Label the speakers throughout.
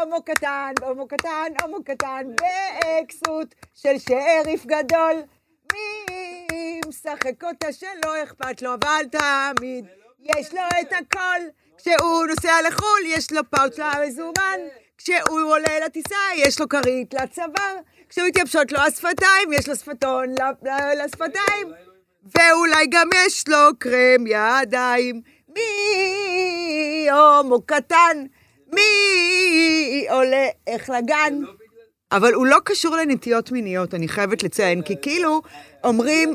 Speaker 1: הומו קטן, הומו קטן, הומו קטן, בכסות של שריף גדול. מי משחק אותה שלא אכפת לו, אבל תמיד יש לו את הכל. כשהוא נוסע לחו"ל, יש לו פאוץ' למזומן. כשהוא עולה לטיסה, יש לו כרית לצוואר. כשהוא מתייבשות לו השפתיים, יש לו שפתון ל- ל- לשפתיים. ואולי גם יש לו קרם ידיים. מי הומו קטן? מי עולה איך לגן? אבל הוא לא קשור לנטיות מיניות, אני חייבת לציין, כי כאילו אומרים,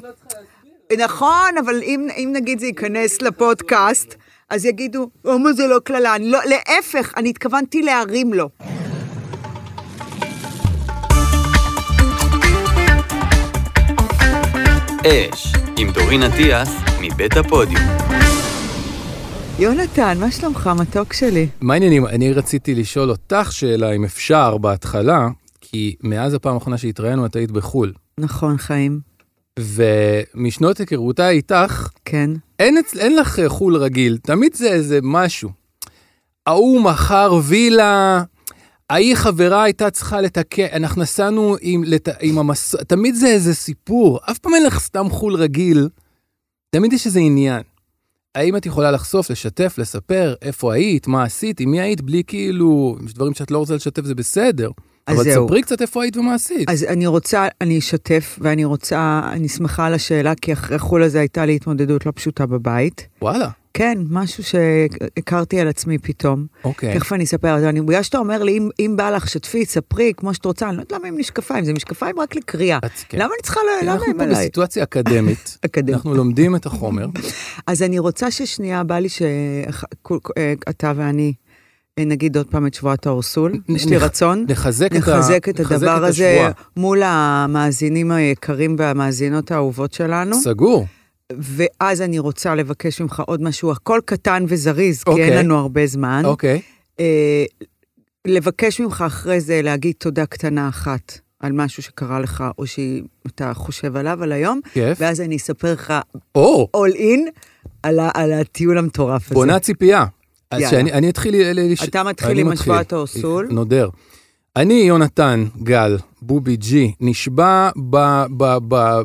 Speaker 1: נכון, אבל אם, אם נגיד זה ייכנס לפודקאסט, אז יגידו, הומו זה לא קללה, אני לא, להפך, אני התכוונתי להרים לו.
Speaker 2: אש, עם דורין אטיאס, מבית הפודיום.
Speaker 1: יונתן, מה שלומך, מתוק שלי?
Speaker 3: מה העניינים? אני רציתי לשאול אותך שאלה, אם אפשר, בהתחלה, כי מאז הפעם האחרונה שהתראינו את היית בחו"ל,
Speaker 1: נכון, חיים,
Speaker 3: ומשנות היכרותה איתך,
Speaker 1: כן.
Speaker 3: אין, אצ... אין לך אה, חו"ל רגיל, תמיד זה איזה משהו. ההוא מכר וילה, ההיא חברה הייתה צריכה לתקן, אנחנו נסענו עם, לת... עם המסוע, תמיד זה איזה סיפור, אף פעם אין לך סתם חו"ל רגיל, תמיד יש איזה עניין. האם את יכולה לחשוף, לשתף, לספר, איפה היית, מה עשית, עם מי היית, בלי כאילו, יש דברים שאת לא רוצה לשתף זה בסדר.
Speaker 1: אז
Speaker 3: אבל
Speaker 1: זהו.
Speaker 3: תספרי קצת איפה היית ומה עשית.
Speaker 1: אז אני רוצה, אני אשתף, ואני רוצה, אני שמחה על השאלה, כי אחרי חו"ל הזה הייתה לי התמודדות לא פשוטה בבית.
Speaker 3: וואלה,
Speaker 1: כן, משהו שהכרתי על עצמי פתאום.
Speaker 3: אוקיי.
Speaker 1: תכף אני אספר, אז אני, בגלל שאתה אומר לי, אם, אם בא לך, שתפי, ספרי, כמו שאת רוצה, אני לא יודעת למה עם משקפיים, זה משקפיים רק לקריאה.
Speaker 3: את- כן.
Speaker 1: למה אני צריכה, ל- למה
Speaker 3: אנחנו
Speaker 1: הם
Speaker 3: פה
Speaker 1: עליי?
Speaker 3: בסיטואציה אקדמית,
Speaker 1: אקדמית.
Speaker 3: אנחנו לומדים את החומר,
Speaker 1: אז אני רוצה ששנייה, בא לי שאתה ואני אה, נגיד עוד פעם את שבועת האורסול,
Speaker 3: נ-
Speaker 1: יש לי
Speaker 3: נח-
Speaker 1: רצון.
Speaker 3: נחזק את ה-
Speaker 1: נחזק את
Speaker 3: נחזק
Speaker 1: הדבר
Speaker 3: את
Speaker 1: הזה
Speaker 3: השבועה.
Speaker 1: מול המאזינים היקרים והמאזינות האהובות שלנו.
Speaker 3: סגור.
Speaker 1: ואז אני רוצה לבקש ממך עוד משהו, הכל קטן וזריז, כי
Speaker 3: אוקיי.
Speaker 1: אין לנו הרבה זמן.
Speaker 3: אוקיי,
Speaker 1: אה, לבקש ממך אחרי זה להגיד תודה קטנה אחת על משהו שקרה לך, או שאתה חושב עליו על היום,
Speaker 3: כיף.
Speaker 1: ואז אני אספר לך
Speaker 3: או,
Speaker 1: all in על, ה- על הטיול המטורף הזה.
Speaker 3: בונה ציפייה. אז
Speaker 1: יאללה.
Speaker 3: שאני אני אתחיל... ל- ל- לש-
Speaker 1: אתה מתחיל
Speaker 3: אני
Speaker 1: עם
Speaker 3: מתחיל.
Speaker 1: השוואת האוסול.
Speaker 3: נודר. אני, יונתן גל, בובי ג'י, נשבע ב... ב... ב...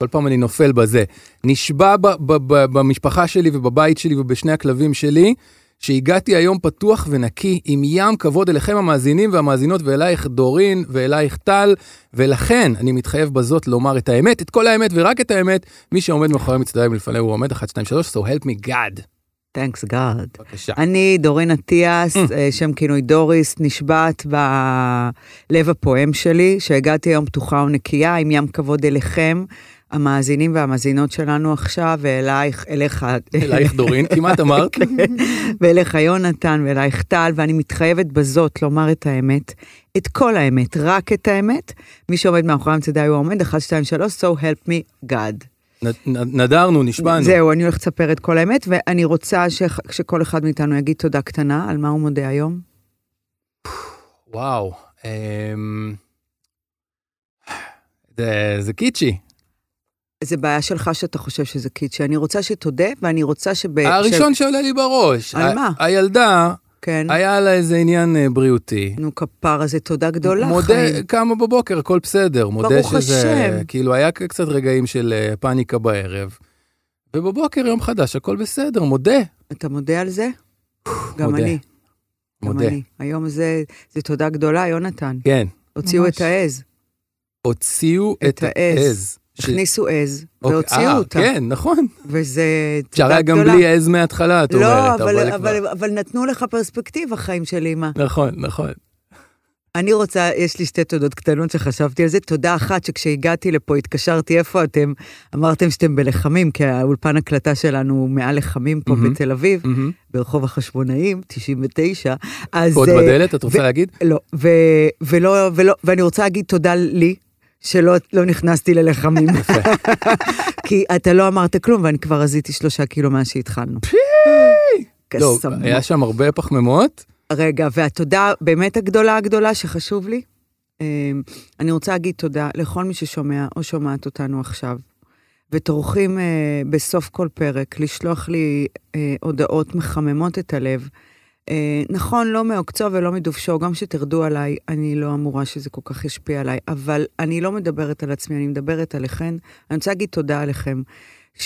Speaker 3: כל פעם אני נופל בזה. נשבע ב, ב, ב, במשפחה שלי ובבית שלי ובשני הכלבים שלי, שהגעתי היום פתוח ונקי, עם ים כבוד אליכם המאזינים והמאזינות, ואלייך דורין ואלייך טל, ולכן אני מתחייב בזאת לומר את האמת, את כל האמת ורק את האמת. מי שעומד מאחורי מצטלם לפניו הוא עומד 1, 2, 3, so help me God.
Speaker 1: Thanks God.
Speaker 3: בבקשה.
Speaker 1: אני דורין אטיאס, אה, שם כינוי דוריס, נשבעת בלב הפועם שלי, שהגעתי היום פתוחה ונקייה, עם ים כבוד אליכם, המאזינים והמאזינות שלנו עכשיו, ואלייך, אליך,
Speaker 3: אלייך דורין,
Speaker 1: כן.
Speaker 3: כמעט אמרת.
Speaker 1: ואליך יונתן, ואלייך טל, ואני מתחייבת בזאת לומר את האמת, את כל האמת, רק את האמת. מי שעומד מאחורי המצדה הוא העומד, 1, 2, 3, so help me God.
Speaker 3: נ- נ- נדרנו, נשבענו.
Speaker 1: זהו, אני הולכת לספר את כל האמת, ואני רוצה ש... שכל אחד מאיתנו יגיד תודה קטנה, על מה הוא מודה היום.
Speaker 3: וואו. אמ, זה- זה קיצ'י.
Speaker 1: זה בעיה שלך שאתה חושב שזה קיצ'י. אני רוצה שתודה, ואני רוצה שב...
Speaker 3: הראשון שעולה לי בראש.
Speaker 1: אה, על
Speaker 3: ה-
Speaker 1: מה?
Speaker 3: הילדה,
Speaker 1: כן.
Speaker 3: היה לה איזה עניין אה, בריאותי.
Speaker 1: נו, כפרה, זה תודה גדולה, חיים.
Speaker 3: מודה, קמה בבוקר, הכל בסדר. מודה
Speaker 1: ברוך
Speaker 3: שזה...
Speaker 1: השם.
Speaker 3: כאילו, היה ק- קצת רגעים של אה, פאניקה בערב. ובבוקר, יום חדש, הכל בסדר, מודה.
Speaker 1: אתה מודה על זה? גם
Speaker 3: מודה,
Speaker 1: אני. גם
Speaker 3: מודה.
Speaker 1: אני. היום זה, זה תודה גדולה, יונתן.
Speaker 3: כן.
Speaker 1: הוציאו
Speaker 4: ממש.
Speaker 1: את העז.
Speaker 3: הוציאו
Speaker 1: את
Speaker 3: את
Speaker 1: העז.
Speaker 3: העז. ש-
Speaker 1: הכניסו עז,
Speaker 3: אוקיי,
Speaker 1: והוציאו
Speaker 3: אה,
Speaker 1: אותה.
Speaker 3: כן, נכון.
Speaker 1: וזה
Speaker 3: אפשר
Speaker 1: תודה
Speaker 3: היה גם
Speaker 1: גדולה.
Speaker 3: בלי עז מההתחלה, את
Speaker 1: לא,
Speaker 3: אומרת.
Speaker 1: אבל,
Speaker 3: כבר-
Speaker 1: אבל, אבל נתנו לך פרספקטיבה, חיים של אימא.
Speaker 3: נכון, נכון.
Speaker 1: אני רוצה, יש לי שתי תודות קטנות שחשבתי על זה. תודה אחת שכשהגעתי לפה התקשרתי, איפה אתם? אמרתם שאתם בלחמים, כי האולפן הקלטה שלנו הוא מעל לחמים פה
Speaker 3: מהמם.
Speaker 1: בתל אביב,
Speaker 3: מהמם.
Speaker 1: ברחוב החשבונאים, 99. אז...
Speaker 3: קוד
Speaker 1: אה,
Speaker 3: בדלת, את רוצה
Speaker 1: ו-
Speaker 3: להגיד?
Speaker 1: לא, ו, ולא, ולא, ואני רוצה להגיד תודה לי. שלא לא נכנסתי ללחמים,
Speaker 3: יפה.
Speaker 1: כי אתה לא אמרת כלום, ואני כבר רזיתי שלושה קילו מאז שהתחלנו.
Speaker 3: לא,
Speaker 1: קסמות.
Speaker 3: היה שם הרבה פחמימות.
Speaker 1: רגע, והתודה באמת הגדולה הגדולה שחשוב לי. אמ, אני רוצה להגיד תודה לכל מי ששומע או שומעת אותנו עכשיו, וטורחים אה, בסוף כל פרק לשלוח לי אה, הודעות מחממות את הלב, אה, נכון, לא מעוקצו ולא מדובשו, גם שתרדו עליי, אני לא אמורה שזה כל כך ישפיע עליי, אבל אני לא מדברת על עצמי, אני מדברת עליכן. אני רוצה להגיד תודה עליכם,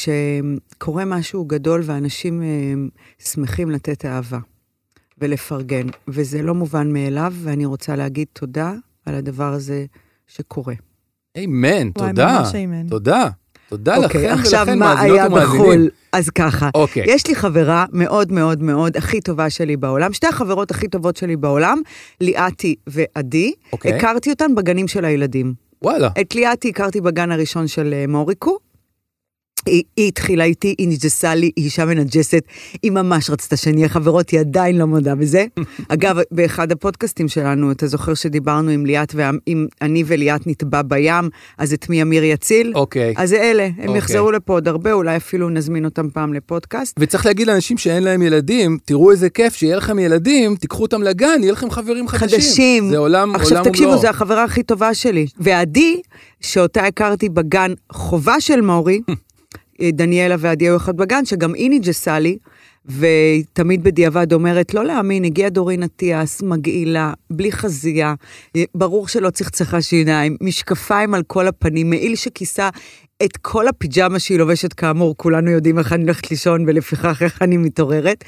Speaker 1: שקורה משהו גדול ואנשים אה, שמחים לתת אהבה ולפרגן, וזה לא מובן מאליו, ואני רוצה להגיד תודה על הדבר הזה שקורה.
Speaker 3: איימן,
Speaker 5: וואי,
Speaker 3: תודה.
Speaker 5: ממש איימן.
Speaker 3: תודה. תודה
Speaker 1: אוקיי,
Speaker 3: לכם
Speaker 1: עכשיו
Speaker 3: ולכן
Speaker 1: מה
Speaker 3: מאזינות
Speaker 1: היה
Speaker 3: ומאזינים.
Speaker 1: בחו"ל? אז ככה.
Speaker 3: אוקיי.
Speaker 1: יש לי חברה מאוד מאוד מאוד הכי טובה שלי בעולם, שתי החברות הכי טובות שלי בעולם, ליאתי ועדי.
Speaker 3: אוקיי.
Speaker 1: הכרתי אותן בגנים של הילדים.
Speaker 3: וואלה.
Speaker 1: את ליאתי הכרתי בגן הראשון של אה, מוריקו. היא, היא התחילה איתי, היא נג'סה לי, היא אישה מנג'סת, היא ממש רצתה שנהיה חברות, היא עדיין לא מודה בזה. אגב, באחד הפודקאסטים שלנו, אתה זוכר שדיברנו עם ליאת, ועם אני וליאת נטבע בים, אז את מי אמיר יציל?
Speaker 3: אוקיי.
Speaker 1: אז זה אלה, הם
Speaker 3: אוקיי.
Speaker 1: יחזרו לפה עוד הרבה, אולי אפילו נזמין אותם פעם לפודקאסט.
Speaker 3: וצריך להגיד לאנשים שאין להם ילדים, תראו איזה כיף שיהיה לכם ילדים, תיקחו אותם לגן, יהיה לכם חברים חדשים.
Speaker 1: חדשים.
Speaker 3: זה עולם, עולם לא.
Speaker 1: עכשיו תקשיבו,
Speaker 3: ומלואו.
Speaker 1: זו החברה הכי טובה שלי. ועדי, שאותה הכרתי בגן חובה של מורי, אה, דניאלה ועדי היו אחד בגן, שגם היא נג'סה לי, והיא תמיד בדיעבד אומרת, לא להאמין, הגיעה דורין אטיאס, מגעילה, בלי חזייה, אה, ברור שלא צחצחה שיניים, משקפיים על כל הפנים, מעיל שכיסה. את כל הפיג'מה שהיא לובשת, כאמור, כולנו יודעים איך אני הולכת לישון, ולפיכך איך אני מתעוררת.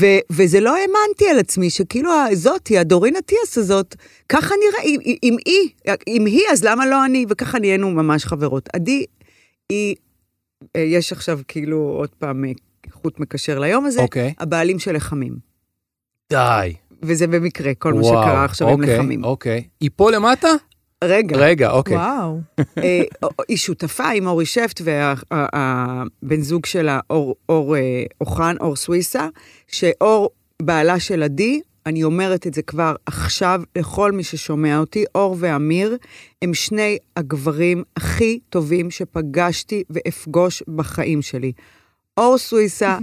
Speaker 1: ו, וזה לא האמנתי על עצמי, שכאילו הזאתי, הדורין אטיאס הזאת, ככה נראה, אם, אם- אם היא, אם היא, אז למה לא אני? וככה נהיינו ממש חברות. עדי, היא, אה, יש עכשיו כאילו עוד פעם אה, חוט מקשר ליום הזה,
Speaker 3: אוקיי.
Speaker 1: הבעלים של לחמים.
Speaker 3: די.
Speaker 1: וזה במקרה, כל מה
Speaker 3: וואו,
Speaker 1: שקרה עכשיו עם
Speaker 3: אוקיי,
Speaker 1: לחמים. כן.
Speaker 3: אוקיי. היא פה למטה?
Speaker 1: רגע,
Speaker 3: רגע, אוקיי.
Speaker 5: וואו.
Speaker 1: אה, היא שותפה עם אורי שפט והבן זוג שלה, אור, אור אה, אוחן, אור סוויסה, שאור בעלה של עדי, אני אומרת את זה כבר עכשיו לכל מי ששומע אותי, אור ואמיר הם שני הגברים הכי טובים שפגשתי ואפגוש בחיים שלי. אור סוויסה,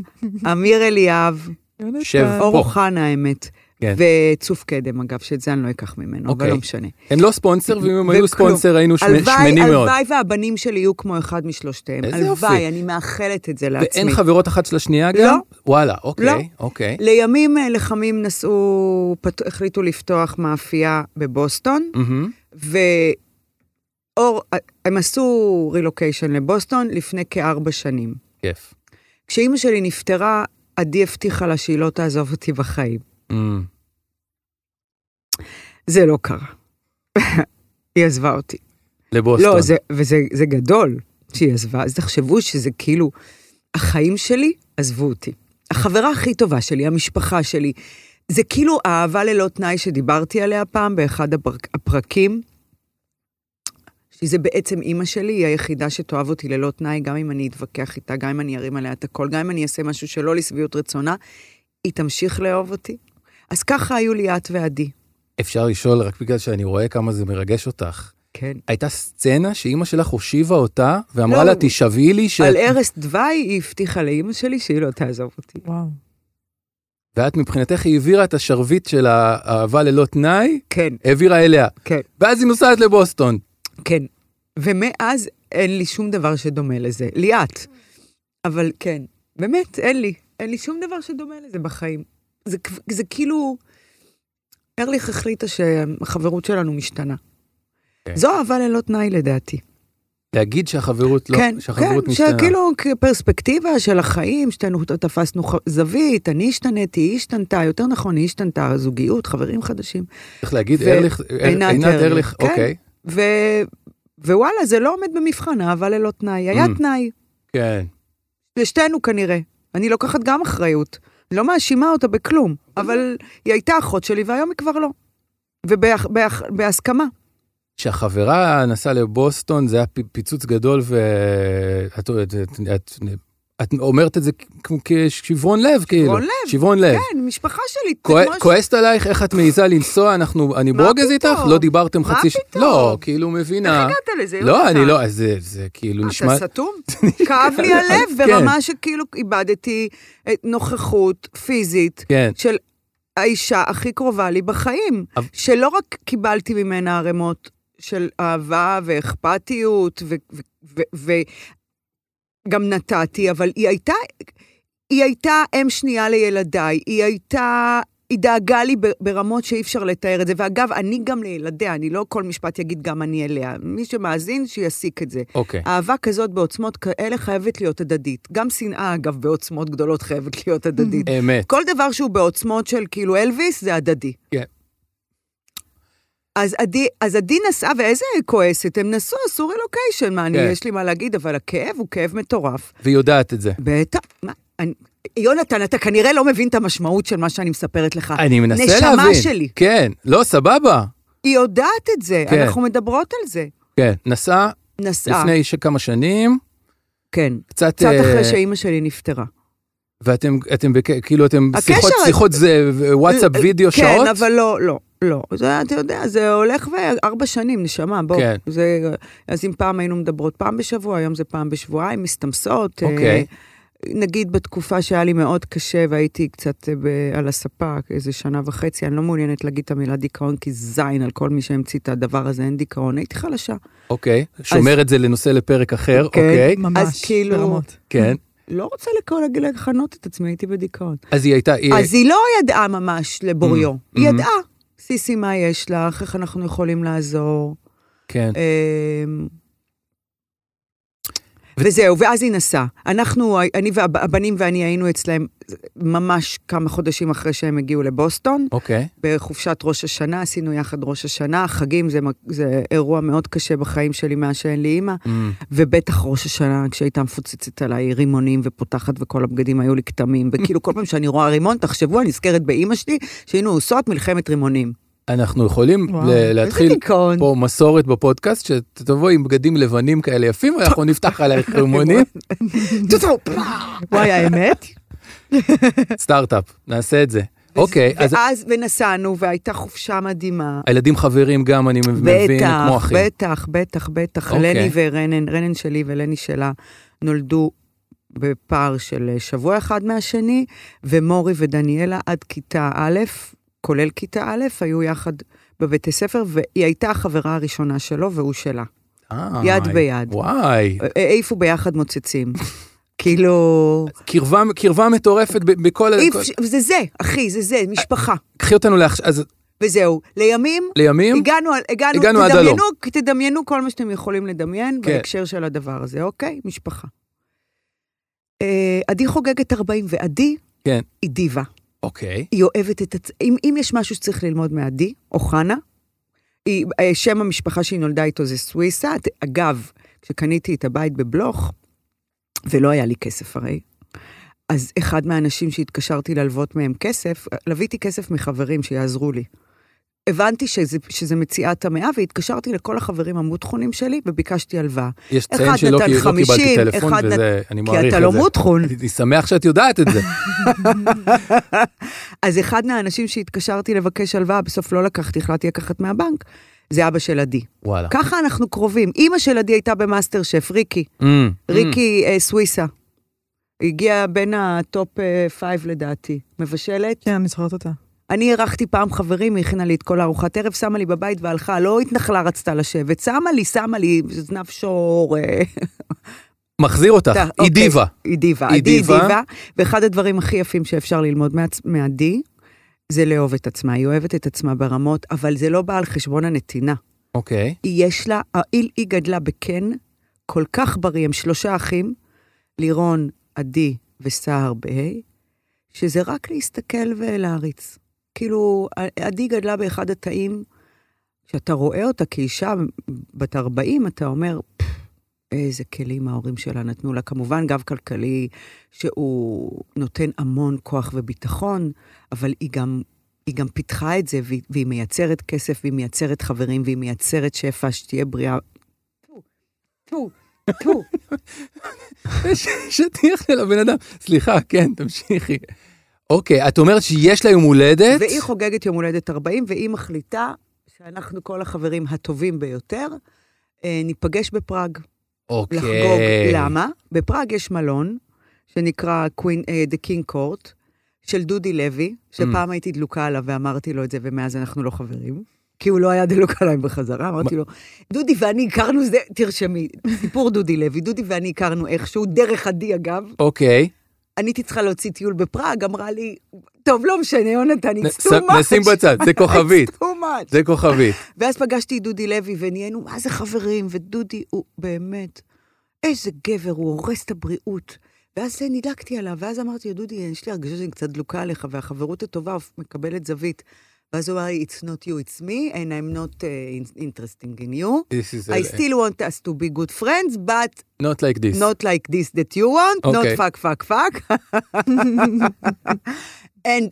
Speaker 1: אמיר אליאב,
Speaker 5: יונתן.
Speaker 3: שב.
Speaker 1: אור
Speaker 3: פה.
Speaker 1: אוחנה האמת,
Speaker 3: כן.
Speaker 1: וצוף קדם אגב, שאת זה אני לא אקח ממנו, אבל
Speaker 3: אוקיי.
Speaker 1: לא משנה.
Speaker 3: הם לא ספונסר, ואם הם היו
Speaker 1: וכלום.
Speaker 3: ספונסר היינו שמ-
Speaker 1: הלוואי,
Speaker 3: שמנים מאוד.
Speaker 1: הלוואי והבנים שלי יהיו כמו אחד משלושתהם.
Speaker 3: איזה יופי.
Speaker 1: הלוואי, אני מאחלת את זה לעצמי.
Speaker 3: ואין חברות אחת של השנייה גם?
Speaker 1: לא.
Speaker 3: וואלה, אוקיי,
Speaker 1: לא.
Speaker 3: אוקיי.
Speaker 1: לימים אה, לחמים נסעו, פת... החליטו לפתוח מאפייה בבוסטון,
Speaker 3: מהמם.
Speaker 1: ואור, אה, הם עשו רילוקיישן לבוסטון לפני כארבע שנים.
Speaker 3: כיף.
Speaker 1: כשאימא שלי נפטרה, עדי הבטיחה לה שהיא לא תעזוב אותי בחיים.
Speaker 3: אמ,
Speaker 1: זה לא קרה. היא עזבה אותי.
Speaker 3: לבוסטון.
Speaker 1: לא, זה, וזה זה גדול שהיא עזבה, אז תחשבו שזה כאילו, החיים שלי עזבו אותי. החברה הכי טובה שלי, המשפחה שלי, זה כאילו האהבה ללא תנאי שדיברתי עליה פעם באחד הפרק, הפרקים, שזה בעצם אימא שלי, היא היחידה שתאהב אותי ללא תנאי, גם אם אני אתווכח איתה, גם אם אני ארים עליה את הכל, גם אם אני אעשה משהו שלא לשביעות רצונה, היא תמשיך לאהוב אותי. אז ככה היו לי את ועדי.
Speaker 3: אפשר לשאול, רק בגלל שאני רואה כמה זה מרגש אותך.
Speaker 1: כן.
Speaker 3: הייתה סצנה שאימא שלך הושיבה אותה, ואמרה
Speaker 1: לא.
Speaker 3: לה, תשאבי לי, ש...
Speaker 1: על ערש דווי היא הבטיחה לאימא שלי שהיא לא תעזוב אותי.
Speaker 5: וואו.
Speaker 3: ואת מבחינתך היא העבירה את השרביט של האהבה ללא תנאי,
Speaker 1: כן.
Speaker 3: העבירה אליה.
Speaker 1: כן.
Speaker 3: ואז היא נוסעת לבוסטון.
Speaker 1: כן. ומאז אין לי שום דבר שדומה לזה. ליאת. אבל כן, באמת, אין לי. אין לי שום דבר שדומה לזה בחיים. זה, כ- זה כאילו... ארליך החליטה שהחברות שלנו משתנה.
Speaker 3: כן.
Speaker 1: זו אהבה ללא תנאי לדעתי.
Speaker 3: להגיד שהחברות לא...
Speaker 1: כן,
Speaker 3: שהחברות
Speaker 1: כן,
Speaker 3: משתנה.
Speaker 1: שכאילו כפרספקטיבה של החיים, שתינו תפסנו ח- זווית, אני השתניתי, היא השתנתה, יותר נכון, היא השתנתה, זוגיות, חברים חדשים.
Speaker 3: צריך להגיד,
Speaker 1: ו-
Speaker 3: ארליך, אר-
Speaker 1: עינת
Speaker 3: עינת
Speaker 1: ארליך,
Speaker 3: ארליך,
Speaker 1: כן.
Speaker 3: אוקיי.
Speaker 1: ו... ווואלה, זה לא עומד במבחן אהבה ללא תנאי. היה
Speaker 3: Mm.
Speaker 1: תנאי,
Speaker 3: כן.
Speaker 1: לשתינו כנראה. אני לוקחת גם אחריות. לא מאשימה אותה בכלום, אבל היא הייתה אחות שלי והיום היא כבר לא. ובהסכמה.
Speaker 3: כשהחברה נסעה לבוסטון זה היה פ- פיצוץ גדול ואת את, את, את, את אומרת את זה כמו כשברון לב, כאילו.
Speaker 1: לב,
Speaker 3: שברון לב.
Speaker 1: כן, משפחה שלי. זה
Speaker 3: כוע-
Speaker 1: כמו ש-
Speaker 3: כועסת עלייך איך את מעיזה לנסוע, אנחנו, אני
Speaker 1: מה
Speaker 3: ברוגז איתך?
Speaker 1: פתאום?
Speaker 3: לא דיברתם
Speaker 1: מה
Speaker 3: חצי ש...
Speaker 1: פתאום?
Speaker 3: לא, כאילו מבינה.
Speaker 1: איך הגעת לזה?
Speaker 3: לא,
Speaker 1: יונתן?
Speaker 3: אני לא, אז זה, זה כאילו נשמע...
Speaker 1: אתה סתום? כאב לי הלב
Speaker 3: כן.
Speaker 1: ברמה שכאילו איבדתי אה, נוכחות פיזית
Speaker 3: כן.
Speaker 1: של האישה הכי קרובה לי בחיים,
Speaker 3: אבל-
Speaker 1: שלא רק קיבלתי ממנה ערימות של אהבה ואכפתיות, ו- ו- ו- וגם נתתי, אבל היא הייתה, היא הייתה אם שנייה לילדיי, היא הייתה... היא דאגה לי ב- ברמות שאי אפשר לתאר את זה. ואגב, אני גם לילדיה, אני לא כל משפט יגיד גם אני אליה. מי שמאזין, שיסיק את זה.
Speaker 3: אוקיי.
Speaker 1: אהבה כזאת בעוצמות כאלה חייבת להיות הדדית. גם שנאה, אגב, בעוצמות גדולות חייבת להיות הדדית.
Speaker 3: אמת.
Speaker 1: אה, כל דבר שהוא בעוצמות של כאילו אלוויס, זה הדדי.
Speaker 3: כן.
Speaker 1: אז עדי, אז עדי נסעה, ואיזה היא כועסת, הם נסעו, עשו רילוקיישן, מה, אני,
Speaker 3: כן.
Speaker 1: יש לי מה להגיד, אבל הכאב הוא כאב מטורף.
Speaker 3: והיא יודעת את זה.
Speaker 1: בטח, מה, אני... יונתן, אתה כנראה לא מבין את המשמעות של מה שאני מספרת לך.
Speaker 3: אני מנסה
Speaker 1: אה, נשמה
Speaker 3: להבין.
Speaker 1: שלי.
Speaker 3: כן, לא, סבבה.
Speaker 1: היא יודעת את זה,
Speaker 3: כן.
Speaker 1: אנחנו מדברות על זה.
Speaker 3: כן, נסעה
Speaker 1: נסעה,
Speaker 3: לפני ש- כמה שנים,
Speaker 1: כן.
Speaker 3: קצת...
Speaker 1: אה. קצת
Speaker 3: אה,
Speaker 1: אחרי שאימא שלי נפטרה.
Speaker 3: ואתם, אתם, בק- כאילו, אתם
Speaker 1: הקשר-
Speaker 3: שיחות, שיחות זה וואטסאפ,
Speaker 1: אה,
Speaker 3: וידאו,
Speaker 1: כן,
Speaker 3: שעות?
Speaker 1: כן, אבל לא, לא. לא, זה, אתה יודע, זה הולך וארבע שנים, נשמה, בוא.
Speaker 3: כן.
Speaker 1: זה, אז אם פעם היינו מדברות פעם בשבוע, היום זה פעם בשבועיים, מסתמסות. אה,
Speaker 3: אוקיי.
Speaker 1: נגיד בתקופה שהיה לי מאוד קשה והייתי קצת אה, ב- על הספה, איזה שנה וחצי, אני לא מעוניינת להגיד את המילה דיכאון, כי זין על כל מי שהמציא את הדבר הזה, אין דיכאון, הייתי חלשה.
Speaker 3: אוקיי, שומר את זה לנושא לפרק אחר,
Speaker 1: כן.
Speaker 3: אוקיי,
Speaker 5: ממש,
Speaker 1: אז כאילו-
Speaker 5: ברמות.
Speaker 3: כן.
Speaker 1: לא רוצה לקרוא- לכנות את עצמי, הייתי בדיכאון.
Speaker 3: אז היא הייתה, היא-
Speaker 1: אז היא לא ידעה ממש לבוריו,
Speaker 3: Mm,
Speaker 1: היא
Speaker 3: mm.
Speaker 1: ידעה. סיסי, מה יש לך? איך אנחנו יכולים לעזור?
Speaker 3: כן,
Speaker 1: אמ, וזהו, ואז היא נסעה. אנחנו, אני והבנים ואני היינו אצלהם ממש כמה חודשים אחרי שהם הגיעו לבוסטון.
Speaker 3: אוקיי,
Speaker 1: בחופשת ראש השנה, עשינו יחד ראש השנה, חגים זה, מ- זה אירוע מאוד קשה בחיים שלי מאז שאין לי אימא,
Speaker 3: Mm,
Speaker 1: ובטח ראש השנה, כשהייתה מפוצצת עליי רימונים ופותחת וכל הבגדים היו לי כתמים, וכאילו כל פעם שאני רואה רימון, תחשבו, אני נזכרת באימא שלי, שהיינו עושות מלחמת רימונים.
Speaker 3: אנחנו יכולים
Speaker 5: וואו,
Speaker 3: ל-
Speaker 5: איזה
Speaker 3: להתחיל
Speaker 1: דיכאון.
Speaker 3: פה מסורת בפודקאסט, שתבואי עם בגדים לבנים כאלה יפים, ואנחנו נפתח עלייך רימונים,
Speaker 1: טו-טו, פרע.
Speaker 5: וואי, האמת?
Speaker 3: סטארט-אפ, נעשה את זה. אוקיי, אז
Speaker 1: ואז, ונסענו, והייתה חופשה מדהימה.
Speaker 3: הילדים חברים גם, אני מבין,
Speaker 1: בטח,
Speaker 3: כמו אחים.
Speaker 1: בטח, בטח, בטח.
Speaker 3: אוקיי.
Speaker 1: לני ורנן, רנן שלי ולני שלה נולדו בפער של אה, שבוע אחד מהשני, ומורי ודניאלה עד כיתה א', כולל כיתה א', היו יחד בבית הספר, והיא הייתה החברה הראשונה שלו והוא שלה.
Speaker 3: אה,
Speaker 1: יד ביד.
Speaker 3: וואי,
Speaker 1: אה, העיפו ביחד מוצצים. כאילו,
Speaker 3: קרבה, קרבה מטורפת ב- בכל...
Speaker 1: אי
Speaker 3: כל-
Speaker 1: אפשר- זה זה, אחי, זה זה, משפחה.
Speaker 3: קחי אותנו לעכשיו, אז
Speaker 1: וזהו, לימים
Speaker 3: לימים,
Speaker 1: הגענו, הגענו,
Speaker 3: הגענו עד
Speaker 1: תדמיינו, תדמיינו כל מה שאתם יכולים לדמיין
Speaker 3: כן.
Speaker 1: כן. בהקשר של הדבר הזה, אוקיי? משפחה. אה, עדי חוגגת 40, ועדי
Speaker 3: כן.
Speaker 1: היא דיבה.
Speaker 3: אוקיי,
Speaker 1: היא אוהבת את הצ... אם, אם יש משהו שצריך ללמוד מעדי, או חנה, היא, אה, שם המשפחה שהיא נולדה איתו זה סוויסה. אגב, כשקניתי את הבית בבלוך, ולא היה לי כסף הרי, אז אחד מהאנשים שהתקשרתי ללוות מהם כסף, לוויתי כסף מחברים שיעזרו לי. הבנתי שזה, שזה מציאת המאה, והתקשרתי לכל החברים המותחונים שלי וביקשתי הלוואה.
Speaker 3: יש
Speaker 1: אחד
Speaker 3: לציין שלא
Speaker 1: נתן
Speaker 3: כי- לא
Speaker 1: 50,
Speaker 3: קיבלתי טלפון,
Speaker 1: אחד
Speaker 3: וזה, אני מעריך את
Speaker 1: כי
Speaker 3: זה.
Speaker 1: אתה לא מותחון.
Speaker 3: אני שמח שאת יודעת את זה.
Speaker 1: אז אחד מהאנשים שהתקשרתי לבקש הלוואה, בסוף לא לקחתי, החלטתי לקחת מהבנק, זה אבא של עדי.
Speaker 3: וואלה.
Speaker 1: ככה אנחנו קרובים. אימא של עדי הייתה במאסטר שף, ריקי.
Speaker 3: Mm,
Speaker 1: ריקי אה, סוויסה. היא הגיעה בין הטופ אה, פייב לדעתי. מבשלת.
Speaker 5: כן, אני זוכרת אותה.
Speaker 1: אני אירחתי פעם חברים, היא הכינה לי את כל הארוחת ערב, שמה לי בבית והלכה, לא התנחלה, רצתה לשבת. שמה לי, שמה לי, זנב שור, אה,
Speaker 3: mm. מחזיר אותך,
Speaker 1: אתה,
Speaker 3: היא
Speaker 1: אוקיי.
Speaker 3: דיבה.
Speaker 1: היא דיבה.
Speaker 3: היא
Speaker 1: עדי היא
Speaker 3: דיבה.
Speaker 1: דיבה. ואחד הדברים הכי יפים שאפשר ללמוד מעצ- מעדי, זה לאהוב את עצמה. היא אוהבת את עצמה ברמות, אבל זה לא בא על חשבון הנתינה.
Speaker 3: אוקיי,
Speaker 1: היא יש לה, היא, היא גדלה בקן, כל כך בריא, הם שלושה אחים, לירון, עדי וסהר ב-A, שזה רק להסתכל ולהריץ. כאילו, עדי גדלה באחד התאים, כשאתה רואה אותה כאישה בת 40, אתה אומר, "פפ, איזה כלים ההורים שלה נתנו לה. כמובן, גב כלכלי, שהוא נותן המון כוח וביטחון, אבל היא גם היא גם פיתחה את זה, והיא, והיא מייצרת כסף, והיא מייצרת חברים, והיא מייצרת שפע, שתהיה בריאה. טו, טו.
Speaker 3: ש- שטיח של הבן אדם. סליחה, כן, תמשיכי. אוקיי, את אומרת שיש לה יום הולדת?
Speaker 1: והיא חוגגת יום הולדת 40, והיא מחליטה שאנחנו כל החברים הטובים ביותר, אה, ניפגש בפראג
Speaker 3: אוקיי.
Speaker 1: לחגוג. למה? בפראג יש מלון, שנקרא Queen, אה, The King Court, של דודי לוי,
Speaker 3: Mm.
Speaker 1: שפעם הייתי דלוקה עליו ואמרתי לו את זה, ומאז אנחנו לא חברים. כי הוא לא היה דלוק עליי בחזרה, אמרתי לו, דודי ואני הכרנו זה, תרשמי, סיפור דודי לוי, דודי ואני הכרנו איכשהו, דרך עדי אגב,
Speaker 3: אוקיי,
Speaker 1: אני הייתי צריכה להוציא טיול בפראג, אמרה לי, טוב, לא משנה, יונתן,
Speaker 3: נ-
Speaker 1: it's too
Speaker 3: ש-
Speaker 1: much.
Speaker 3: נשים בצד, זה כוכבית.
Speaker 1: It's too much.
Speaker 3: זה כוכבית.
Speaker 1: ואז פגשתי את דודי לוי ונהיינו, מה זה חברים, ודודי הוא באמת, איזה גבר, הוא הורס את הבריאות. ואז זה נדלקתי עליו, ואז אמרתי לו, דודי, יש לי הרגשה שאני קצת דלוקה עליך, והחברות הטובה מקבלת זווית. ואז הוא אמר לי, it's not you, it's me, and I'm not uh, interesting in you.
Speaker 3: This is
Speaker 1: I
Speaker 3: a-
Speaker 1: still want us to be good friends, but
Speaker 3: Not like this.
Speaker 1: not like this that you want,
Speaker 3: Okay.
Speaker 1: not fuck, fuck, fuck. And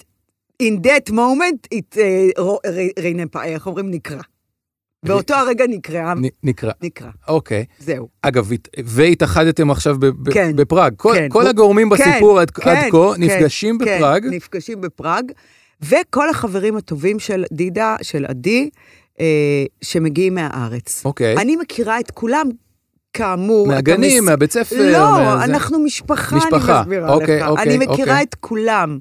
Speaker 1: in that moment, it, uh, ro- re- רנפה, איך אומרים? נקרע. באותו הרגע נקרע,
Speaker 3: נ- נקרא.
Speaker 1: נקרע.
Speaker 3: אוקיי.
Speaker 1: זהו.
Speaker 3: אגב, הת- והתאחדתם עכשיו ב- ב-
Speaker 1: כן.
Speaker 3: בפראג. כל-
Speaker 1: כן.
Speaker 3: כל הגורמים
Speaker 1: כן,
Speaker 3: בסיפור עד
Speaker 1: כן,
Speaker 3: עד כה
Speaker 1: כן,
Speaker 3: נפגשים
Speaker 1: כן,
Speaker 3: בפראג.
Speaker 1: נפגשים בפראג, וכל החברים הטובים של דידה, של עדי, אה, שמגיעים מהארץ.
Speaker 3: אוקיי.
Speaker 1: אני מכירה את כולם, כאמור. אתה
Speaker 3: מהגנים,
Speaker 1: מס-
Speaker 3: מהבית ספר.
Speaker 1: לא,
Speaker 3: מה- זה-
Speaker 1: אנחנו משפחה,
Speaker 3: משפחה,
Speaker 1: אני מסבירה
Speaker 3: אוקיי,
Speaker 1: לך.
Speaker 3: אוקיי,
Speaker 1: אני מכירה
Speaker 3: אוקיי.
Speaker 1: את כולם.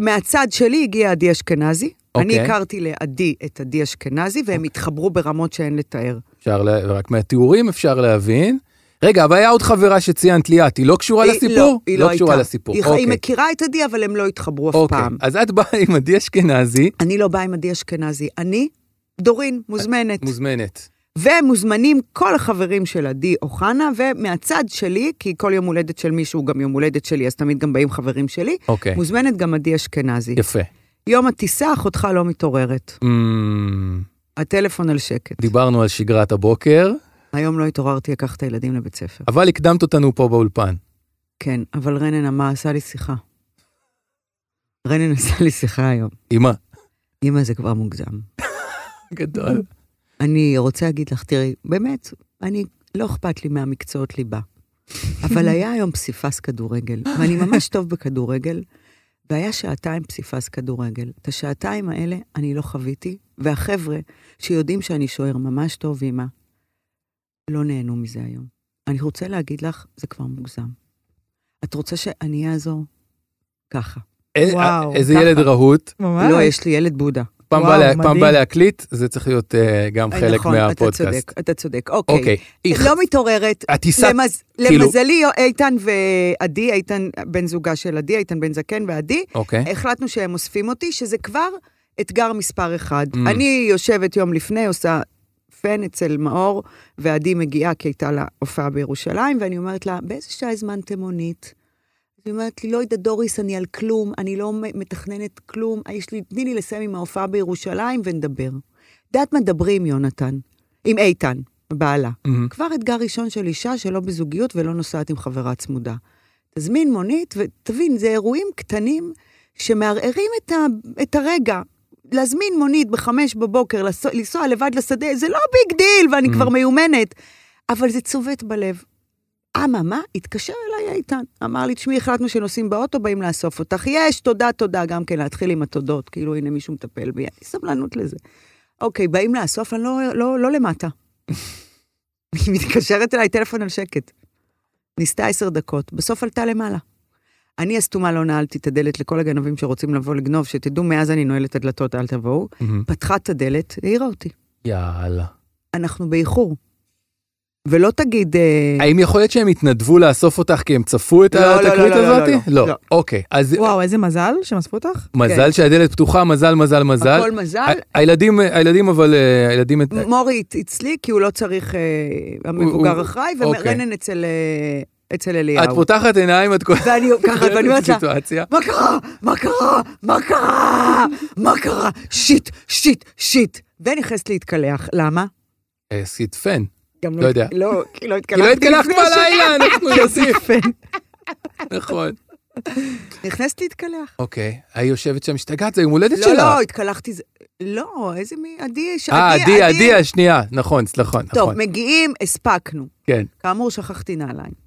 Speaker 1: מהצד שלי הגיע עדי אשכנזי.
Speaker 3: אוקיי.
Speaker 1: אני הכרתי לעדי את עדי אשכנזי, והם התחברו ברמות שאין לתאר.
Speaker 3: אפשר, לה- רק מהתיאורים אפשר להבין. רגע, אבל היה עוד חברה שציינת לי את, היא לא קשורה
Speaker 1: היא-
Speaker 3: לסיפור?
Speaker 1: היא לא
Speaker 3: קשורה
Speaker 1: הייתה.
Speaker 3: לסיפור,
Speaker 1: היא-
Speaker 3: אוקיי.
Speaker 1: היא מכירה את עדי, אבל הם לא התחברו אף
Speaker 3: אוקיי.
Speaker 1: פעם.
Speaker 3: אז את באה עם עדי אשכנזי,
Speaker 1: אני לא באה עם עדי אשכנזי, אני דורין, מוזמנת.
Speaker 3: מוזמנת.
Speaker 1: ומוזמנים כל החברים של עדי אוחנה, ומהצד שלי, כי כל יום הולדת של מישהו הוא גם יום הולדת שלי, אז תמיד גם באים חברים שלי,
Speaker 3: אוקיי.
Speaker 1: מוזמנת גם עדי אשכנזי.
Speaker 3: יפה.
Speaker 1: יום הטיסה, אחותך לא מתעוררת.
Speaker 3: אמ,
Speaker 1: הטלפון על שקט.
Speaker 3: דיברנו על שגרת הבוקר,
Speaker 1: היום לא התעוררתי לקח את הילדים לבית ספר.
Speaker 3: אבל הקדמת אותנו פה באולפן.
Speaker 1: כן, אבל רנן אמר, עשה לי שיחה. רנן עשה לי שיחה היום.
Speaker 3: אמא.
Speaker 1: אמא, זה כבר מוגזם.
Speaker 3: גדול.
Speaker 1: אני רוצה להגיד לך, תראי, באמת, אני, לא אכפת לי מהמקצועות ליבה. אבל היה היום פסיפס כדורגל, ואני ממש טוב בכדורגל, והיה שעתיים פסיפס כדורגל. את השעתיים האלה אני לא חוויתי, והחבר'ה שיודעים שאני שוער ממש טוב, אימא, לא נהנו מזה היום. אני רוצה להגיד לך, זה כבר מוגזם. את רוצה שאני אעזור? ככה.
Speaker 3: אה,
Speaker 5: וואו,
Speaker 3: איזה
Speaker 1: ככה.
Speaker 3: ילד רהוט.
Speaker 5: ממש.
Speaker 1: לא, יש לי ילד בודה.
Speaker 3: פעם
Speaker 5: וואו,
Speaker 3: בא לה- פעם
Speaker 5: מדהים.
Speaker 3: בא להקליט, זה צריך להיות אה, גם חלק
Speaker 1: נכון, אתה
Speaker 3: מהפודקאסט.
Speaker 1: צודק, אתה צודק. אוקיי.
Speaker 3: אוקיי. איך-
Speaker 1: לא מתעוררת.
Speaker 3: הטיסה,
Speaker 1: למז...
Speaker 3: כאילו-
Speaker 1: למזלי, איתן ועדי, איתן בן זוגה של עדי, איתן בן זקן ועדי,
Speaker 3: אוקיי.
Speaker 1: החלטנו שהם אוספים אותי, שזה כבר אתגר מספר אחד.
Speaker 3: Mm.
Speaker 1: אני יושבת יום לפני, עושה פן אצל מאור, ועדי מגיעה כי הייתה לה הופעה בירושלים, ואני אומרת לה, באיזה שעה הזמנתם מונית? אז היא אומרת לי, לא יודעת, דוריס, אני על כלום, אני לא מ- מתכננת כלום, יש לי, תני לי לסיים עם ההופעה בירושלים ונדבר. יודעת מה, דברי עם יונתן, עם איתן, בעלה.
Speaker 3: אמ,
Speaker 1: כבר אתגר ראשון של אישה שלא בזוגיות ולא נוסעת עם חברה צמודה. תזמין מונית, ותבין, זה אירועים קטנים שמערערים את, ה, את הרגע. להזמין מונית בחמש בבוקר, לס- לנסוע לבד לשדה, זה לא ביג דיל, ואני
Speaker 3: Mm.
Speaker 1: כבר מיומנת, אבל זה צובט בלב. אממה, התקשר אליי איתן, אמר לי, תשמעי, החלטנו שנוסעים באוטו, באים לאסוף אותך. יש, תודה, תודה, גם כן, להתחיל עם התודות, כאילו, הנה מישהו מטפל בי, אין לי סבלנות לזה. אוקיי, באים לאסוף, אני לא, לא, לא למטה. היא מתקשרת אליי, טלפון על שקט. ניסתה עשר דקות, בסוף עלתה למעלה. אני הסתומה לא נעלתי את הדלת לכל הגנבים שרוצים לבוא לגנוב, שתדעו, מאז אני נועלת את הדלתות, אל תבואו.
Speaker 3: אמ,
Speaker 1: פתחה את הדלת, העירה אותי.
Speaker 3: יאללה.
Speaker 1: אנחנו באיחור. ולא תגיד... אה,
Speaker 3: האם יכול להיות שהם התנדבו לאסוף אותך כי הם צפו את
Speaker 1: לא, לא, לא,
Speaker 3: התקרית
Speaker 1: לא, לא,
Speaker 3: הזאת?
Speaker 1: לא, לא. כן.
Speaker 3: אוקיי, אז
Speaker 5: וואו, איזה מזל שהם אספו אותך.
Speaker 3: מזל שהדלת פתוחה, מזל, מזל, מזל.
Speaker 1: הכל מזל.
Speaker 3: ה- הילדים, הילדים אבל, אה, הילדים... את-
Speaker 1: מורי הת- אצלי, כי הוא לא צריך... אה,
Speaker 3: הוא-
Speaker 1: המבוגר אחראי,
Speaker 3: אוקיי.
Speaker 1: ורנן אצל אה, אצל
Speaker 3: את
Speaker 1: אליהו.
Speaker 3: פותחת עיניים, את כל...
Speaker 1: ואני ככה, ואני אומרת לה,
Speaker 3: סיטואציה.
Speaker 1: מה קרה? מה קרה? מה קרה? מה קרה? שיט, שיט, שיט. ונכנסת להתקלח. למה?
Speaker 3: אה, סיט פן.
Speaker 1: גם
Speaker 3: לא יודע.
Speaker 1: לא, כי לא
Speaker 3: כי
Speaker 1: התקלחתי.
Speaker 3: לא התקלחת
Speaker 1: לפני ש-
Speaker 3: בלילה, אנחנו נוסיף. נכון.
Speaker 1: נכנסת להתקלח.
Speaker 3: אוקיי, היא יושבת שם, השתגעת, זה יום הולדת
Speaker 1: לא,
Speaker 3: שלה.
Speaker 1: לא, התקלחתי. זה- לא, איזה מי... עדי, ש-
Speaker 3: אה, עדי, עדי, השנייה, נכון, נכון,
Speaker 1: טוב,
Speaker 3: נכון,
Speaker 1: מגיעים, הספקנו.
Speaker 3: כן.
Speaker 1: כאמור, שכחתי נעליים.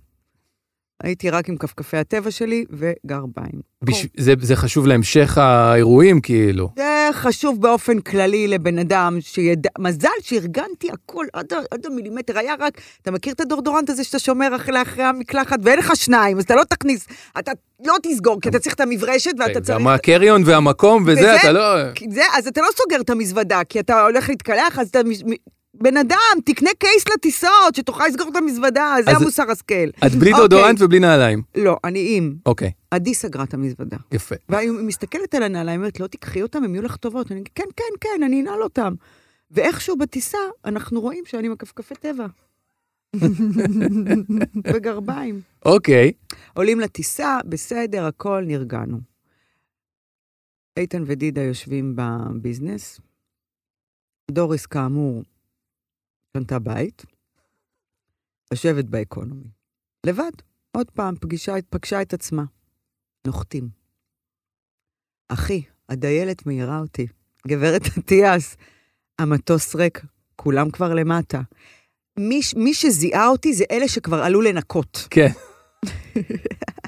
Speaker 1: הייתי רק עם כפכפי הטבע שלי וגרביים.
Speaker 3: בש- זה- זה חשוב להמשך האירועים, כאילו.
Speaker 1: זה חשוב באופן כללי לבן אדם שידע, מזל שארגנתי הכל עד, ה- עד המילימטר, היה רק, אתה מכיר את הדורדורנט הזה שאתה שומר אחרי, אחרי המקלחת ואין לך שניים, אז אתה לא תכניס, אתה לא תסגור, כי אתה צריך את המברשת ואתה צריך...
Speaker 3: כן, גם הקריון והמקום וזה,
Speaker 1: וזה-
Speaker 3: אתה לא...
Speaker 1: כי זה, אז אתה לא סוגר את המזוודה, כי אתה הולך להתקלח, אז אתה... מש- מ- בן אדם, תקנה קייס לטיסות, שתוכל לסגור את המזוודה, זה
Speaker 3: אז-
Speaker 1: המוסר השכל.
Speaker 3: את בלי
Speaker 1: אוקיי.
Speaker 3: דאודורנט ובלי נעליים.
Speaker 1: לא, אני עם.
Speaker 3: אוקיי,
Speaker 1: עדי סגרה את המזוודה.
Speaker 3: יפה.
Speaker 1: והיא מסתכלת על הנעליים, אומרת, לא תיקחי אותם, הם יהיו לך טובות. אני אגיד, כן, כן, כן, אני אנעל אותם. ואיכשהו בטיסה, אנחנו רואים שאני מכפכפי טבע. וגרביים.
Speaker 3: אוקיי,
Speaker 1: עולים לטיסה, בסדר, הכל, נרגענו. איתן ודידה יושבים בביזנס. דוריס, כאמור, קנתה בית, יושבת באקונומי. לבד, עוד פעם, פגישה, פגשה את עצמה. נוחתים. אחי, הדיילת מעירה אותי. גברת אטיאס, המטוס ריק, כולם כבר למטה. מי, ש- מי שזיהה אותי זה אלה שכבר עלו לנקות.
Speaker 3: כן.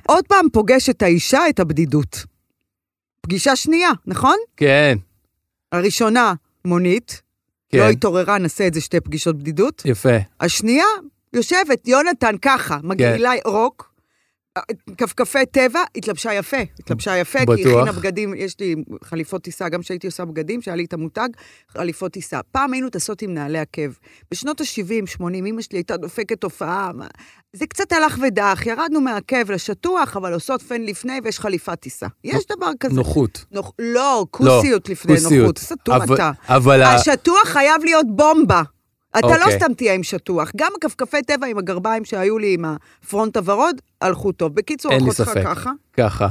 Speaker 1: עוד פעם פוגש את האישה את הבדידות. פגישה שנייה, נכון?
Speaker 3: כן,
Speaker 1: הראשונה, מונית. כן. לא
Speaker 3: כן,
Speaker 1: התעוררה, נעשה את זה שתי פגישות בדידות.
Speaker 3: יפה.
Speaker 1: השנייה, יושבת, יונתן ככה, מגעילה
Speaker 3: כן.
Speaker 1: רוק, כפכפי טבע, התלבשה יפה. התלבשה יפה, כי
Speaker 3: בטוח.
Speaker 1: הכינה בגדים, יש לי חליפות טיסה, גם כשהייתי עושה בגדים, שהיה לי את המותג, חליפות טיסה. פעם היינו טסות עם נעלי עקב. בשנות ה-70, 80, אמא שלי הייתה דופקת הופעה. מה- זה קצת הלך ודח, ירדנו מהעקב לשטוח, אבל עושות פן לפני ויש חליפת טיסה. יש דבר כזה.
Speaker 3: נוחות.
Speaker 1: נוח- לא, כוסיות לפני
Speaker 3: כוסיות.
Speaker 1: נוחות, סתום
Speaker 3: אבל-
Speaker 1: אתה. אה,
Speaker 3: אבל ה-
Speaker 1: השטוח חייב להיות בומבה. אתה לא
Speaker 3: אוקיי.
Speaker 1: סתם תהיה עם שטוח. גם הכפכפי טבע עם הגרביים שהיו לי עם הפרונט הוורוד, הלכו טוב. בקיצור,
Speaker 3: אין לי
Speaker 1: אחותך
Speaker 3: ספק.
Speaker 1: ככה.
Speaker 3: ככה.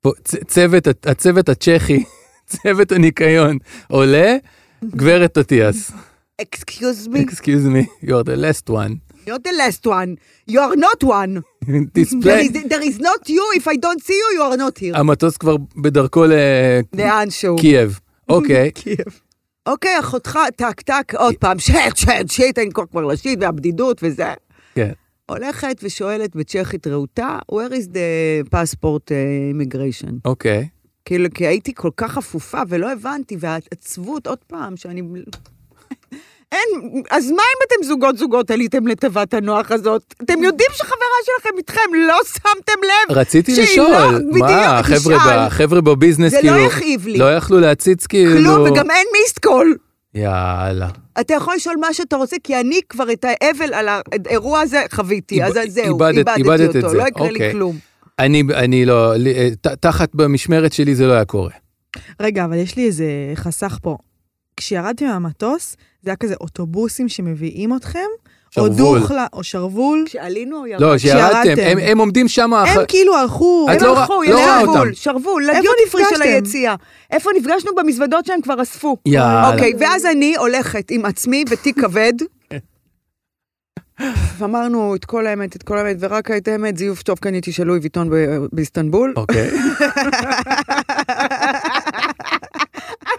Speaker 3: פה, צ- צוות, הצוות הצ'כי, צוות הניקיון, עולה, גברת אטיאס.
Speaker 1: אקסקיוז מי,
Speaker 3: Excuse me, you're the last one.
Speaker 1: you're the last one, you are not one. There
Speaker 3: Display.
Speaker 1: is, there is not you, if I don't see you, you are not here.
Speaker 3: המטוס כבר בדרכו
Speaker 1: לאן שהוא.
Speaker 3: לקייב. אוקיי,
Speaker 1: אוקיי, אחותך, טק טק, עוד פעם, שט, שט, שיט, אין כוח כבר לשיט, והבדידות וזה.
Speaker 3: כן.
Speaker 1: הולכת ושואלת בצ'כית רהוטה, where is the passport uh, immigration?
Speaker 3: אוקיי.
Speaker 1: כאילו, כי הייתי כל כך אפופה ולא הבנתי, והעצבות, עוד פעם, שאני... אין, אז מה אם אתם זוגות-זוגות עליתם לתיבת הנוח הזאת? אתם יודעים שחברה שלכם איתכם, לא שמתם לב?
Speaker 3: רציתי
Speaker 1: שהיא
Speaker 3: לשאול,
Speaker 1: לא-
Speaker 3: מה,
Speaker 1: בדיוק,
Speaker 3: החבר'ה
Speaker 1: תשאל.
Speaker 3: ב- החבר'ה בביזנס
Speaker 1: זה לא
Speaker 3: כאילו,
Speaker 1: יכאיב לי.
Speaker 3: לא יכלו להציץ כאילו,
Speaker 1: כלום, וגם אין מיסט קול.
Speaker 3: יאללה,
Speaker 1: אתה יכול לשאול מה שאתה רוצה, כי אני כבר את האבל על האירוע הזה חוויתי, אז
Speaker 3: איבד-
Speaker 1: זהו,
Speaker 3: איבדת- איבדת את
Speaker 1: איבדתי אותו,
Speaker 3: זה,
Speaker 1: לא יקרה לי
Speaker 3: אוקיי.
Speaker 1: כלום.
Speaker 3: אני, אני לא, לי- אה, ת- תחת במשמרת שלי זה לא היה קורה,
Speaker 1: נכון.
Speaker 5: רגע, אבל יש לי איזה חסך פה. כשירדתי מהמטוס, זה היה כזה אוטובוסים שמביאים אתכם, או
Speaker 3: שרוול.
Speaker 5: דוכלה, או שרוול.
Speaker 1: כשעלינו או ירדנו?
Speaker 3: לא, שירדתם,
Speaker 5: כשירדתם.
Speaker 3: הם- הם עומדים שם,
Speaker 5: הם
Speaker 3: אחר-
Speaker 5: כאילו הלכו...
Speaker 3: את
Speaker 5: הם
Speaker 1: הם
Speaker 3: לא
Speaker 5: הלכו-
Speaker 1: הלכו,
Speaker 3: רא-
Speaker 1: יש
Speaker 3: לא ראה
Speaker 1: שרוול,
Speaker 3: אותם.
Speaker 1: שרוול,
Speaker 5: איפה
Speaker 1: לדיוניפרי של
Speaker 5: נפגשתם?
Speaker 1: היציאה. איפה נפגשנו? במזוודות שהם כבר אספו.
Speaker 3: יאללה.
Speaker 1: אוקיי, ואז אני הולכת עם עצמי ותיק כבד. ואמרנו את כל האמת, את כל האמת, ורק את האמת, זיוף טוב קניתי של לואי ויטון ב- באיסטנבול.
Speaker 3: אוקיי,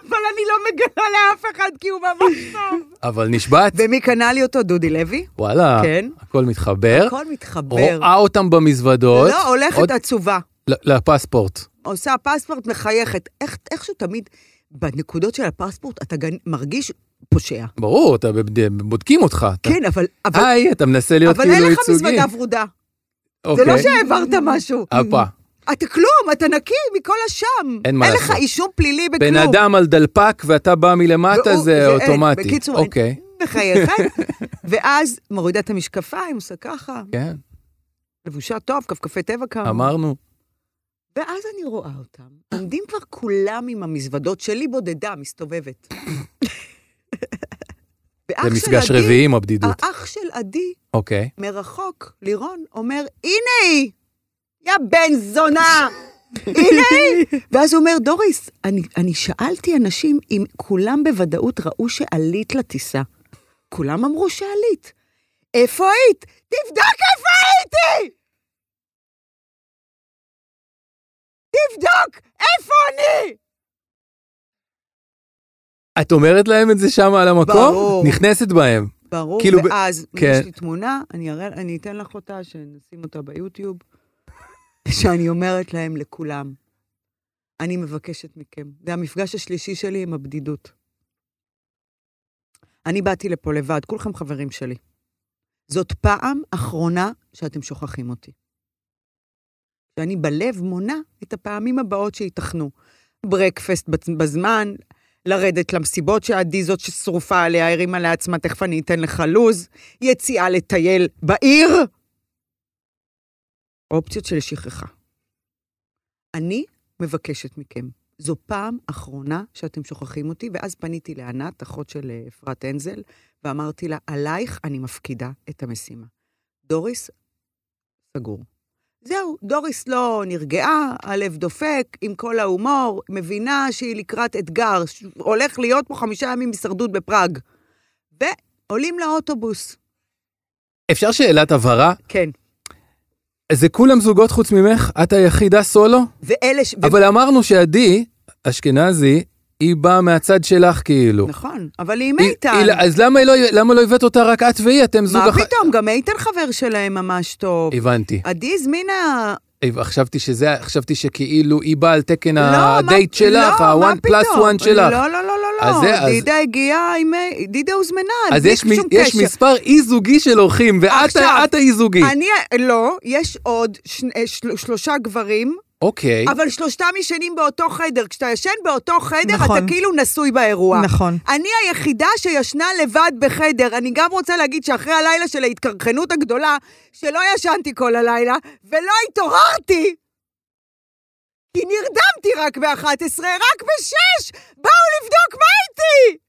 Speaker 1: אבל אני לא מגלה לאף אחד כי הוא ממש טוב.
Speaker 3: אבל נשבעת,
Speaker 1: ומי קנה לי אותו? דודי לוי.
Speaker 3: וואלה,
Speaker 1: כן.
Speaker 3: הכל מתחבר,
Speaker 1: הכל מתחבר.
Speaker 3: רואה אותם במזוודות,
Speaker 1: לא,
Speaker 3: אה? עוד- לא,
Speaker 1: הולכת עצובה.
Speaker 3: ל- לפספורט,
Speaker 1: עושה פספורט, מחייכת. איך- איכשהו תמיד, בנקודות של הפספורט, אתה גן- מרגיש
Speaker 3: אה?
Speaker 1: פושע.
Speaker 3: ברור, אתה בבד- בודקים אותך, אתה-
Speaker 1: כן, אבל... אבל-
Speaker 3: היי, אתה מנסה להיות
Speaker 1: אבל
Speaker 3: כאילו
Speaker 1: אין
Speaker 3: ייצוגי,
Speaker 1: לך מזוודה ורודה. זה
Speaker 3: אוקיי.
Speaker 1: לא שהעברת משהו.
Speaker 3: הפה.
Speaker 1: אתה כלום, אתה נקי מכל אשם.
Speaker 3: אין מה
Speaker 1: אין לך
Speaker 3: לעשות.
Speaker 1: אישום פלילי בכלום.
Speaker 3: בן אדם על דלפק ואתה בא מלמטה
Speaker 1: והוא-
Speaker 3: זה
Speaker 1: אין.
Speaker 3: אוטומטי.
Speaker 1: בקיצור, אין.
Speaker 3: אוקיי,
Speaker 1: מחייכת, ואז מורידה את המשקפיים, עושה ככה,
Speaker 3: כן,
Speaker 1: לבושה טוב, כפכפי טבע כאמור.
Speaker 3: אמרנו.
Speaker 1: ואז אני רואה אותם, עומדים כבר כולם עם המזוודות שלי בודדה, מסתובבת. ואח
Speaker 3: זה
Speaker 1: של
Speaker 3: מפגש
Speaker 1: עדי- אה.
Speaker 3: רביעי עם הבדידות.
Speaker 1: האח של עדי,
Speaker 3: אוקיי.
Speaker 1: מרחוק, לירון אומר, הנה היא! יא בן זונה! הנה היא! ואז הוא אומר, דוריס, אני, אני שאלתי אנשים אם כולם בוודאות ראו שעלית לטיסה. כולם אמרו שעלית. איפה היית? תבדוק איפה הייתי! תבדוק איפה אני!
Speaker 3: את אומרת להם את זה שם על המקום?
Speaker 1: ברור.
Speaker 3: נכנסת בהם.
Speaker 1: ברור,
Speaker 3: כאילו
Speaker 1: כאילו
Speaker 3: ב-
Speaker 1: ואז ב...
Speaker 3: כן.
Speaker 1: יש לי תמונה, אני, אראה, אני אתן לך אותה, שנשים אותה ביוטיוב, שאני אומרת להם, לכולם, אני מבקשת מכם. זה המפגש השלישי שלי עם הבדידות. אני באתי לפה לבד, כולכם חברים שלי. זאת פעם אחרונה שאתם שוכחים אותי. ואני בלב מונה את הפעמים הבאות שייתכנו. ברקפסט בצ- בזמן, לרדת למסיבות שעדי זאת ששרופה עליה, הרימה לעצמה, תכף אני אתן לך לוז, יציאה לטייל בעיר. אופציות של שכחה. אני מבקשת מכם, זו פעם אחרונה שאתם שוכחים אותי, ואז פניתי לענת, אחות של אה, אפרת הנזל, ואמרתי לה, עלייך אני מפקידה את המשימה. דוריס, סגור. זהו, דוריס לא נרגעה, הלב דופק, עם כל ההומור, מבינה שהיא לקראת אתגר, ש- הולך להיות פה חמישה ימים הישרדות בפראג. ועולים לאוטובוס.
Speaker 3: אפשר שאלת הבהרה?
Speaker 1: כן.
Speaker 3: זה כולם זוגות חוץ ממך? את היחידה סולו?
Speaker 1: כן. ואלה ש...
Speaker 3: אבל אמרנו שעדי, אשכנזי, היא באה מהצד שלך כאילו.
Speaker 1: נכון, אבל היא עם
Speaker 3: היא-
Speaker 1: איתן.
Speaker 3: היא- אז למה היא לא- למה לא הבאת אותה רק את והיא? אתם זוג
Speaker 1: מה
Speaker 3: אח...
Speaker 1: פתאום, גם איתן חבר שלהם ממש טוב.
Speaker 3: הבנתי.
Speaker 1: עדי הזמינה...
Speaker 3: אה, חשבתי שזה, חשבתי שכאילו היא באה על תקן
Speaker 1: לא, מה-
Speaker 3: הדייט שלך,
Speaker 1: לא, מה
Speaker 3: ה-one plus
Speaker 1: פתאום?
Speaker 3: one שלך.
Speaker 1: לא, לא, לא, לא,
Speaker 3: אז זה-
Speaker 1: לא.
Speaker 3: אז-
Speaker 1: דידה הגיעה עם... דידה הוזמנה,
Speaker 3: אז
Speaker 1: בלי
Speaker 3: יש, מ-
Speaker 1: שום
Speaker 3: יש
Speaker 1: קשר.
Speaker 3: מספר אי-זוגי של אורחים, ואת
Speaker 1: עכשיו,
Speaker 3: ה- את האי-זוגי.
Speaker 1: אני... לא, יש עוד שני- אה, של- שלושה גברים,
Speaker 3: אוקיי.
Speaker 1: אבל שלושתם ישנים באותו חדר. כשאתה ישן באותו חדר,
Speaker 5: נכון.
Speaker 1: אתה כאילו נשוי באירוע.
Speaker 5: נכון.
Speaker 1: אני היחידה שישנה לבד בחדר. אני גם רוצה להגיד שאחרי הלילה של ההתקרחנות הגדולה, שלא ישנתי כל הלילה, ולא התעוררתי! כי נרדמתי רק ב-11, רק ב-6! באו לבדוק מה איתי!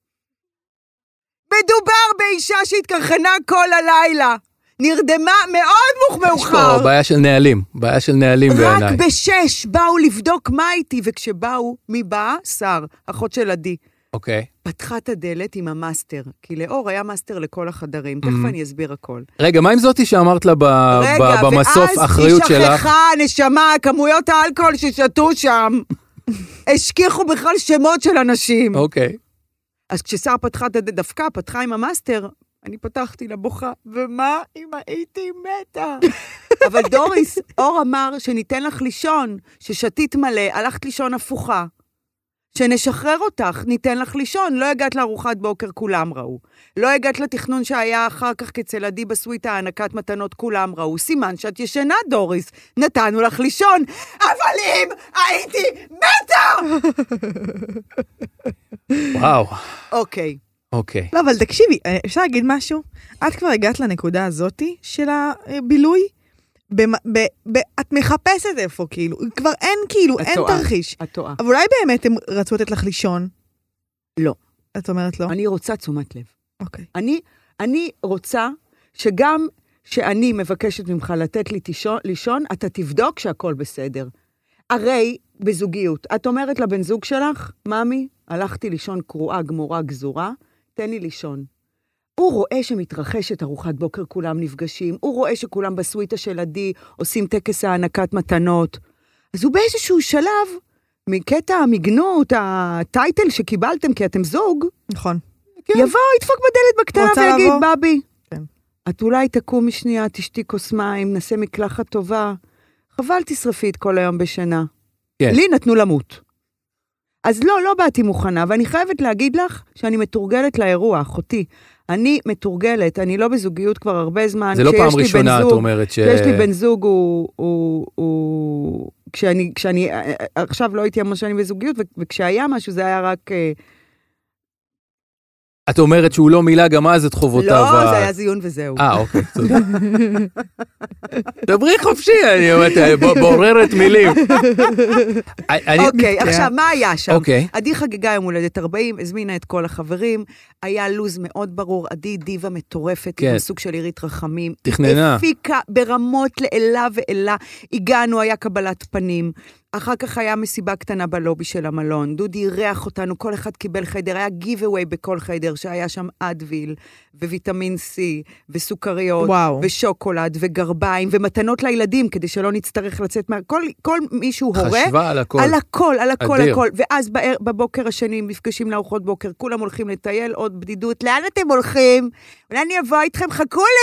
Speaker 1: מדובר באישה שהתקרחנה כל הלילה. נרדמה מאוד
Speaker 3: יש
Speaker 1: מאוחר.
Speaker 3: פה בעיה של נהלים, בעיה של נהלים
Speaker 1: רק
Speaker 3: בעיניי.
Speaker 1: בשש באו לבדוק מה איתי, וכשבאו, מי באה? שר, אחות של עדי.
Speaker 3: אוקיי.
Speaker 1: פתחה את הדלת עם המאסטר, כי לאור היה מאסטר לכל החדרים, תכף אני אסביר הכל.
Speaker 3: רגע, מה עם זאתי שאמרת לה אה, ב- ב- במסוף אחריות
Speaker 1: רגע, ואז היא
Speaker 3: שלך?
Speaker 1: שכחה, נשמה, כמויות האלכוהול ששתו שם. השכיחו בכלל שמות של אנשים.
Speaker 3: אוקיי.
Speaker 1: אז כששר פתחה את הדלת, דווקא פתחה עם המאסטר, אני פתחתי לה בוכה, ומה אם הייתי מתה? אבל דוריס, אור אמר שניתן לך לישון, ששתית מלא, הלכת לישון הפוכה. שנשחרר אותך, ניתן לך לישון. לא הגעת לארוחת בוקר, כולם ראו. לא הגעת לתכנון שהיה אחר כך אצל עדי בסוויטה, הענקת מתנות, כולם ראו. סימן שאת ישנה, דוריס. נתנו לך לישון. אבל אם הייתי מתה!
Speaker 3: וואו.
Speaker 1: אוקיי.
Speaker 3: אוקיי.
Speaker 5: לא, אבל תקשיבי, אה, אפשר להגיד משהו? את כבר הגעת לנקודה הזאתי של הבילוי? במ- ב- ב- את מחפשת איפה, כאילו. כבר אין, כאילו,
Speaker 1: את
Speaker 5: אין
Speaker 1: טועה.
Speaker 5: תרחיש.
Speaker 1: את טועה.
Speaker 5: אבל אולי באמת הם רצו לתת לך לישון?
Speaker 1: לא.
Speaker 5: את אומרת לא?
Speaker 1: אני רוצה תשומת לב.
Speaker 5: אוקיי.
Speaker 1: אני, אני רוצה שגם שאני מבקשת ממך לתת לי תישון, לישון, אתה תבדוק שהכל בסדר. הרי בזוגיות, את אומרת לבן זוג שלך, ממי, הלכתי לישון קרועה, גמורה, גזורה, תן לי לישון. הוא רואה שמתרחשת ארוחת בוקר, כולם נפגשים, הוא רואה שכולם בסוויטה של עדי עושים טקס הענקת מתנות. אז הוא באיזשהו שלב, מקטע המגנות, הטייטל שקיבלתם כי אתם זוג,
Speaker 5: נכון.
Speaker 3: כן.
Speaker 1: יבוא, ידפוק בדלת בקטנה
Speaker 5: רוצה
Speaker 1: ויגיד,
Speaker 5: לבוא?
Speaker 1: בבי,
Speaker 5: כן.
Speaker 1: את אולי תקומי שנייה, תשתי כוס מים, נעשה מקלחת טובה. חבל תשרפי את כל היום בשינה.
Speaker 3: כן.
Speaker 1: לי נתנו למות. אז לא, לא באתי מוכנה, ואני חייבת להגיד לך שאני מתורגלת לאירוע, אחותי. אני מתורגלת, אני לא בזוגיות כבר הרבה זמן.
Speaker 3: זה לא
Speaker 1: כשיש
Speaker 3: פעם
Speaker 1: לי בן
Speaker 3: ראשונה, את
Speaker 1: זוג-
Speaker 3: אומרת ש...
Speaker 1: כשיש לי בן זוג, הוא... הוא, הוא כשאני, כשאני, אה, אה, עכשיו לא הייתי המון שנים בזוגיות, ו- וכשהיה משהו זה היה רק... אה,
Speaker 3: את אומרת שהוא לא מילא גם אז את חובותיו.
Speaker 1: לא,
Speaker 3: ה-
Speaker 1: זה היה זיון וזהו.
Speaker 3: אה, אוקיי, תודה. דברי חופשי, אני אומרת, ב- בוררת מילים. אני- אה,
Speaker 1: אוקיי, עכשיו, מה היה שם?
Speaker 3: אוקיי.
Speaker 1: עדי חגגה יום הולדת 40, הזמינה את כל החברים, היה לו"ז מאוד ברור, עדי דיבה מטורפת,
Speaker 3: כן.
Speaker 1: כן. סוג של עירית רחמים.
Speaker 3: תכננה.
Speaker 1: הפיקה ברמות לעילה ועילה. הגענו, היה קבלת פנים. אחר כך היה מסיבה קטנה בלובי של המלון, דודי אירח אותנו, כל אחד קיבל חדר, היה גיבווי בכל חדר, שהיה שם אדוויל, וויטמין C, וסוכריות,
Speaker 5: וואו.
Speaker 1: ושוקולד, וגרביים, ומתנות לילדים, כדי שלא נצטרך לצאת מה... כל, כל מישהו הורה,
Speaker 3: חשבה על הכל.
Speaker 1: על הכל, על הכל,
Speaker 3: אדיר.
Speaker 1: הכל. ואז בער, בבוקר השני נפגשים לארוחות בוקר, כולם הולכים לטייל, עוד בדידות, לאן אתם הולכים? אולי אני אבוא איתכם, חכו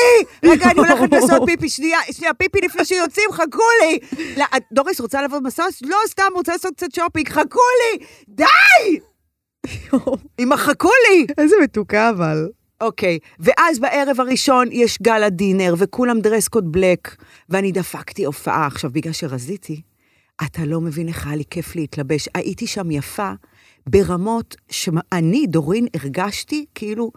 Speaker 1: לי! רגע, אני הולכת לעשות פיפי, שנייה, שנייה, פיפי לפני שיוצאים, חכו לי! לא, את- דוריס רוצה לעבור מסוס? לא, סתם, רוצה לעשות קצת שופינג, חכו לי! די! אמא, חכו לי!
Speaker 5: איזה מתוקה אבל.
Speaker 1: אוקיי, ואז בערב הראשון יש גאלה דינר, וכולם דרס קוד בלק, ואני דפקתי הופעה. עכשיו, בגלל שרזיתי, אתה לא מבין איך היה לי כיף להתלבש. הייתי שם יפה ברמות שאני, דורין, הרגשתי כאילו,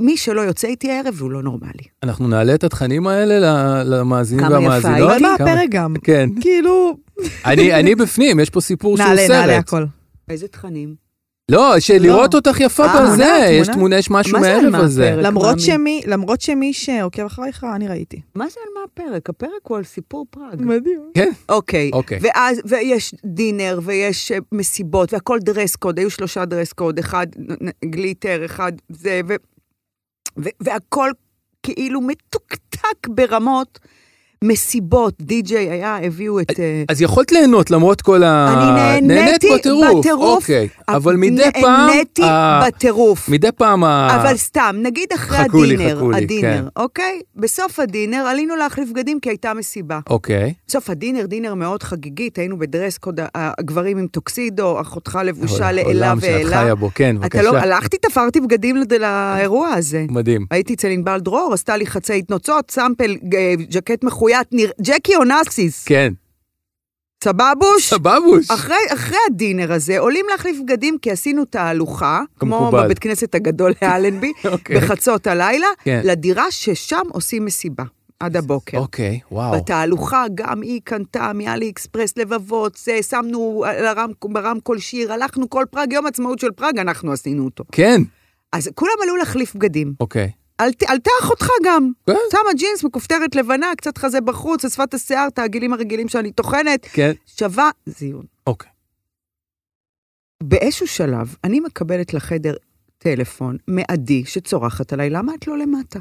Speaker 1: מי שלא יוצא איתי הערב הוא לא נורמלי.
Speaker 3: אנחנו נעלה את התכנים האלה ל- למאזינים
Speaker 1: כמה יפה
Speaker 3: והמאזינות.
Speaker 5: אבל
Speaker 1: הייתי.
Speaker 5: מה
Speaker 3: כמה-
Speaker 5: הפרק גם?
Speaker 3: כן.
Speaker 5: כאילו,
Speaker 3: אני, אני בפנים, יש פה סיפור שהוא
Speaker 5: נעלה,
Speaker 3: סרט.
Speaker 5: נעלה הכל.
Speaker 1: איזה תכנים?
Speaker 3: לא, שלראות
Speaker 5: לא.
Speaker 3: אותך יפה
Speaker 1: אה,
Speaker 3: בזה,
Speaker 5: תמונה,
Speaker 3: יש
Speaker 5: תמונה.
Speaker 3: תמונה, יש משהו
Speaker 1: מה זה
Speaker 3: מערב
Speaker 1: מה
Speaker 3: הזה.
Speaker 1: הפרק?
Speaker 5: למרות
Speaker 1: מאמי.
Speaker 5: שמי, למרות שמי שעוקב אחריך, אני ראיתי.
Speaker 1: מה זה על מה הפרק? הפרק הוא על סיפור פראג.
Speaker 5: מדהים.
Speaker 1: אוקיי.
Speaker 3: אוקיי.
Speaker 1: ואז, ויש דינר, ויש אה, מסיבות, והכל דרס קוד, היו שלושה דרס קוד, אחד נ- נ- גליטר, אחד זה, ו... ו... והכל כאילו מתוקתק ברמות מסיבות. די-ג'יי היה, הביאו את... אה,
Speaker 3: אז יכולת ליהנות למרות כל ה...
Speaker 1: אני נהניתי
Speaker 3: נהנית
Speaker 1: בטירוף.
Speaker 3: אוקיי,
Speaker 1: ה-
Speaker 3: אבל מדי פעם...
Speaker 1: נהניתי
Speaker 3: ה-
Speaker 1: בטירוף.
Speaker 3: מדי פעם ה...
Speaker 1: אבל סתם, נגיד אחרי
Speaker 3: אה, חכו לי,
Speaker 1: הדינר,
Speaker 3: חכו לי, כן.
Speaker 1: הדינר, אוקיי? בסוף הדינר עלינו להחליף בגדים כי הייתה מסיבה.
Speaker 3: אוקיי.
Speaker 1: בסוף הדינר, דינר מאוד חגיגית, היינו בדרס קוד, ה- הגברים עם טוקסידו, אחותך לבושה לעילה
Speaker 3: עולם שאת
Speaker 1: ועילה.
Speaker 3: חיה בו, כן,
Speaker 1: אתה
Speaker 3: בבקשה.
Speaker 1: לא, הלכתי, תפרתי בגדים לד- לאירוע הזה.
Speaker 3: מדהים.
Speaker 1: הייתי אצל ענבל דרור, עשתה לי חצאית נוצות, סמפל, ג- ז'קט מחויית, נרא- ג'קי אונסיס,
Speaker 3: כן.
Speaker 1: סבבוש?
Speaker 3: סבבוש.
Speaker 1: אחרי, אחרי הדינר הזה, עולים להחליף בגדים כי עשינו תהלוכה, כמו
Speaker 3: כמקובל.
Speaker 1: בבית כנסת הגדול לאלנבי,
Speaker 3: אוקיי.
Speaker 1: בחצות הלילה,
Speaker 3: כן.
Speaker 1: לדירה ששם עושים מסיבה, עד הבוקר.
Speaker 3: אוקיי, וואו.
Speaker 1: בתהלוכה גם היא קנתה מאלי אקספרס לבבות, זה, שמנו על הרמק- ברמקול שיר, הלכנו כל פראג, יום עצמאות של פראג, אנחנו עשינו אותו.
Speaker 3: כן.
Speaker 1: אז כולם עלו להחליף בגדים.
Speaker 3: אוקיי.
Speaker 1: על- עלתה אחותך גם.
Speaker 3: כן.
Speaker 1: שמה ג'ינס, מכופתרת לבנה, קצת חזה בחוץ, אספת השיער, תעגילים הרגילים שאני טוחנת,
Speaker 3: כן.
Speaker 1: שווה זיון.
Speaker 3: אוקיי.
Speaker 1: באיזשהו שלב, אני מקבלת לחדר טלפון מעדי שצורחת עליי, למה את לא למטה?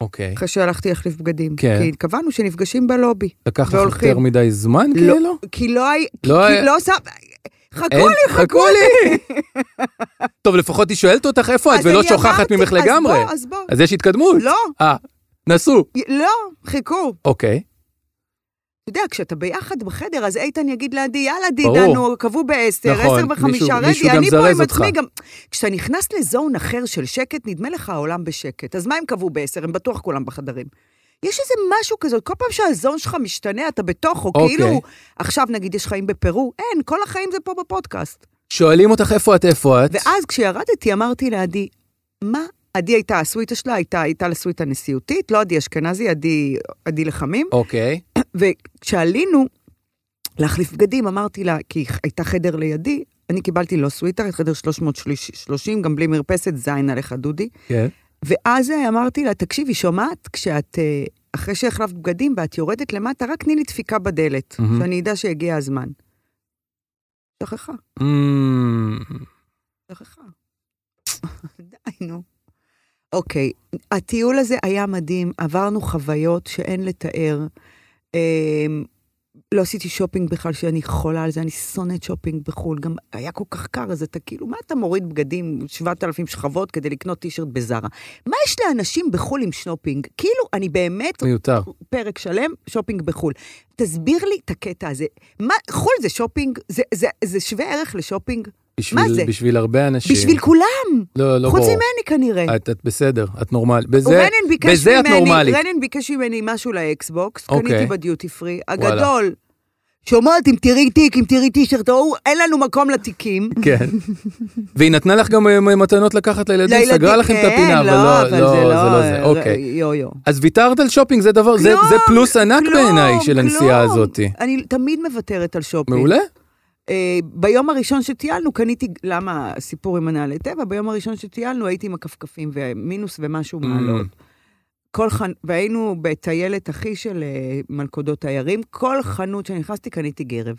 Speaker 3: אוקיי.
Speaker 1: אחרי שהלכתי להחליף בגדים.
Speaker 3: כן.
Speaker 1: כי קבענו שנפגשים בלובי.
Speaker 3: לקח לך
Speaker 1: והולכים.
Speaker 3: יותר מדי זמן
Speaker 1: לא.
Speaker 3: כאילו?
Speaker 1: כי לא הי...
Speaker 3: לא
Speaker 1: כי
Speaker 3: היה-
Speaker 1: לא שם... חכו
Speaker 3: אין,
Speaker 1: לי,
Speaker 3: חכו לי. טוב, לפחות היא שואלת אותך איפה את
Speaker 1: אז
Speaker 3: ולא
Speaker 1: אני
Speaker 3: שוכחת
Speaker 1: אמרתי,
Speaker 3: ממך לגמרי.
Speaker 1: אז בוא, אז
Speaker 3: אז יש התקדמות.
Speaker 1: בוא. לא,
Speaker 3: אה, נסו.
Speaker 1: לא, חיכו.
Speaker 3: אוקיי.
Speaker 1: אתה יודע, כשאתה ביחד בחדר, אז איתן יגיד לעדי, יאללה,
Speaker 3: ברור.
Speaker 1: דידה, נו, קבעו בעשר,
Speaker 3: נכון,
Speaker 1: עשר
Speaker 3: מישהו-
Speaker 1: וחמישה,
Speaker 3: מישהו גם
Speaker 1: רדי, אני פה
Speaker 3: זרז
Speaker 1: עם
Speaker 3: אותך.
Speaker 1: עצמי גם... כשאתה נכנס לזון אחר של שקט, נדמה לך העולם בשקט. אז מה הם קבעו בעשר? הם בטוח כולם בחדרים. יש איזה משהו כזה, כל פעם שהזון שלך משתנה, אתה בתוכו,
Speaker 3: אוקיי.
Speaker 1: כאילו, עכשיו נגיד יש חיים בפרו, אין, כל החיים זה פה בפודקאסט.
Speaker 3: שואלים אותך איפה את, איפה את.
Speaker 1: ואז כשירדתי, אמרתי לעדי, מה? עדי הייתה, הסוויטה שלה הייתה, הייתה לסוויטה נשיאותית, לא עדי אשכנזי, עדי, עדי לחמים.
Speaker 3: אוקיי.
Speaker 1: וכשעלינו להחליף בגדים, אמרתי לה, כי הייתה חדר לידי, אני קיבלתי לא סוויטר, חדר 330, גם בלי מרפסת, זין עליך, דודי.
Speaker 3: כן.
Speaker 1: ואז אה, אמרתי לה, תקשיבי, שומעת? כשאת, אה, אחרי שהחלפת בגדים ואת יורדת למטה, רק תני לי דפיקה בדלת,
Speaker 3: מהמם.
Speaker 1: שאני אדע שהגיע הזמן. שכחה,
Speaker 3: אמ,
Speaker 1: שכחה. די, נו. אוקיי, הטיול הזה היה מדהים, עברנו חוויות שאין לתאר. אמ, לא עשיתי שופינג בכלל, שאני חולה על זה, אני שונאת שופינג בחו"ל. גם היה כל כך קר, אז אתה כאילו, מה אתה מוריד בגדים, 7,000 שכבות כדי לקנות טישרט בזארה? מה יש לאנשים בחו"ל עם שופינג? כאילו, אני באמת
Speaker 3: מיותר.
Speaker 1: פרק שלם, שופינג בחו"ל. תסביר לי את הקטע הזה. מה, חו"ל זה שופינג? זה, זה, זה שווה ערך לשופינג?
Speaker 3: בשביל-
Speaker 1: מה זה?
Speaker 3: בשביל הרבה אנשים.
Speaker 1: בשביל כולם,
Speaker 3: לא, לא
Speaker 1: חוץ
Speaker 3: ברור.
Speaker 1: ממני כנראה.
Speaker 3: את, את בסדר, את נורמל. בזה,
Speaker 1: רנן ביקש
Speaker 3: בזה את
Speaker 1: ממני-
Speaker 3: נורמלית.
Speaker 1: רנן ביקש ממני משהו לאקסבוקס,
Speaker 3: אוקיי.
Speaker 1: קניתי בדיוטי פרי,
Speaker 3: וואלה.
Speaker 1: הגדול. שומעת, אם תראי תיק, אם תראי טישרט, ההוא, אין לנו מקום לתיקים.
Speaker 3: כן. והיא נתנה לך גם אה, מתנות לקחת לילדים,
Speaker 1: לילדים-
Speaker 3: סגרה לכם את
Speaker 1: כן,
Speaker 3: הפינה, אבל לא,
Speaker 1: אבל
Speaker 3: לא, זה לא זה,
Speaker 1: אה,
Speaker 3: אוקיי.
Speaker 1: יו יו.
Speaker 3: אז ויתרת על שופינג, זה דבר, זה,
Speaker 1: כלום,
Speaker 3: זה פלוס ענק
Speaker 1: כלום,
Speaker 3: בעיניי של הנסיעה
Speaker 1: כלום.
Speaker 3: הזאת.
Speaker 1: אני תמיד מוותרת על שופינג.
Speaker 3: מעולה?
Speaker 1: אה, ביום הראשון שטיילנו, קניתי, למה הסיפור עם הנעלי טבע? ביום הראשון שטיילנו הייתי עם הכפכפים ומינוס
Speaker 3: Mm.
Speaker 1: ומשהו מעלות. כל חנ... והיינו בטיילת אחי של אה, מלכודות תיירים, כל חנות שנכנסתי קניתי גרב.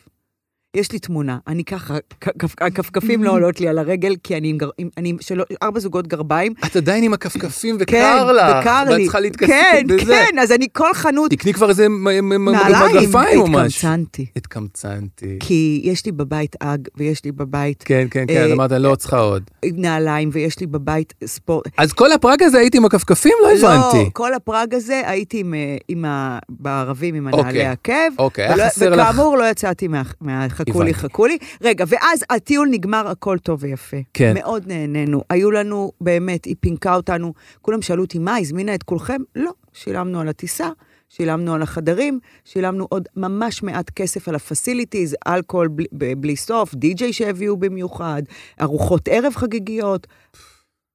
Speaker 1: יש לי תמונה, אני ככה, כ- כפ- הכפכפים לא עולות לי על הרגל, כי אני עם, גר... עם אני עם שלו, ארבע זוגות גרביים.
Speaker 3: את עדיין עם הכפכפים
Speaker 1: כן,
Speaker 3: וקר לך.
Speaker 1: וקר לי.
Speaker 3: ואת צריכה להתכסות
Speaker 1: כן,
Speaker 3: בזה.
Speaker 1: כן, אז אני כל חנות,
Speaker 3: תקני כבר איזה מ- מ- מ-
Speaker 1: נעליים,
Speaker 3: מגפיים או משהו.
Speaker 1: התקמצנתי.
Speaker 3: התקמצנתי.
Speaker 1: כי יש לי בבית אג, ויש לי בבית
Speaker 3: כן, כן, כן,
Speaker 1: אה,
Speaker 3: אז אמרת, אני לא צריכה עוד.
Speaker 1: נעליים, ויש לי בבית ספורט.
Speaker 3: אז כל הפראג הזה הייתי עם הכפכפים? לא
Speaker 1: לא,
Speaker 3: הבנתי.
Speaker 1: כל הפראג הזה הייתי עם, אה, עם ה... בערבים, עם
Speaker 3: אוקיי.
Speaker 1: הנעלי עקב.
Speaker 3: אוקיי, היה
Speaker 1: ולא-
Speaker 3: חסר לך.
Speaker 1: וכאמור, לא יצאתי מה... מה חכו לי,
Speaker 3: הבנתי.
Speaker 1: חכו לי. רגע, ואז הטיול נגמר, הכל טוב ויפה.
Speaker 3: כן.
Speaker 1: מאוד נהנינו. היו לנו, באמת, היא פינקה אותנו. כולם שאלו אותי, מה, הזמינה את כולכם? לא, שילמנו על הטיסה. שילמנו על החדרים, שילמנו עוד ממש מעט כסף על הפסיליטיז, אלכוהול בלי, ב- בלי סוף, די-ג'יי שהביאו במיוחד, ארוחות ערב חגיגיות,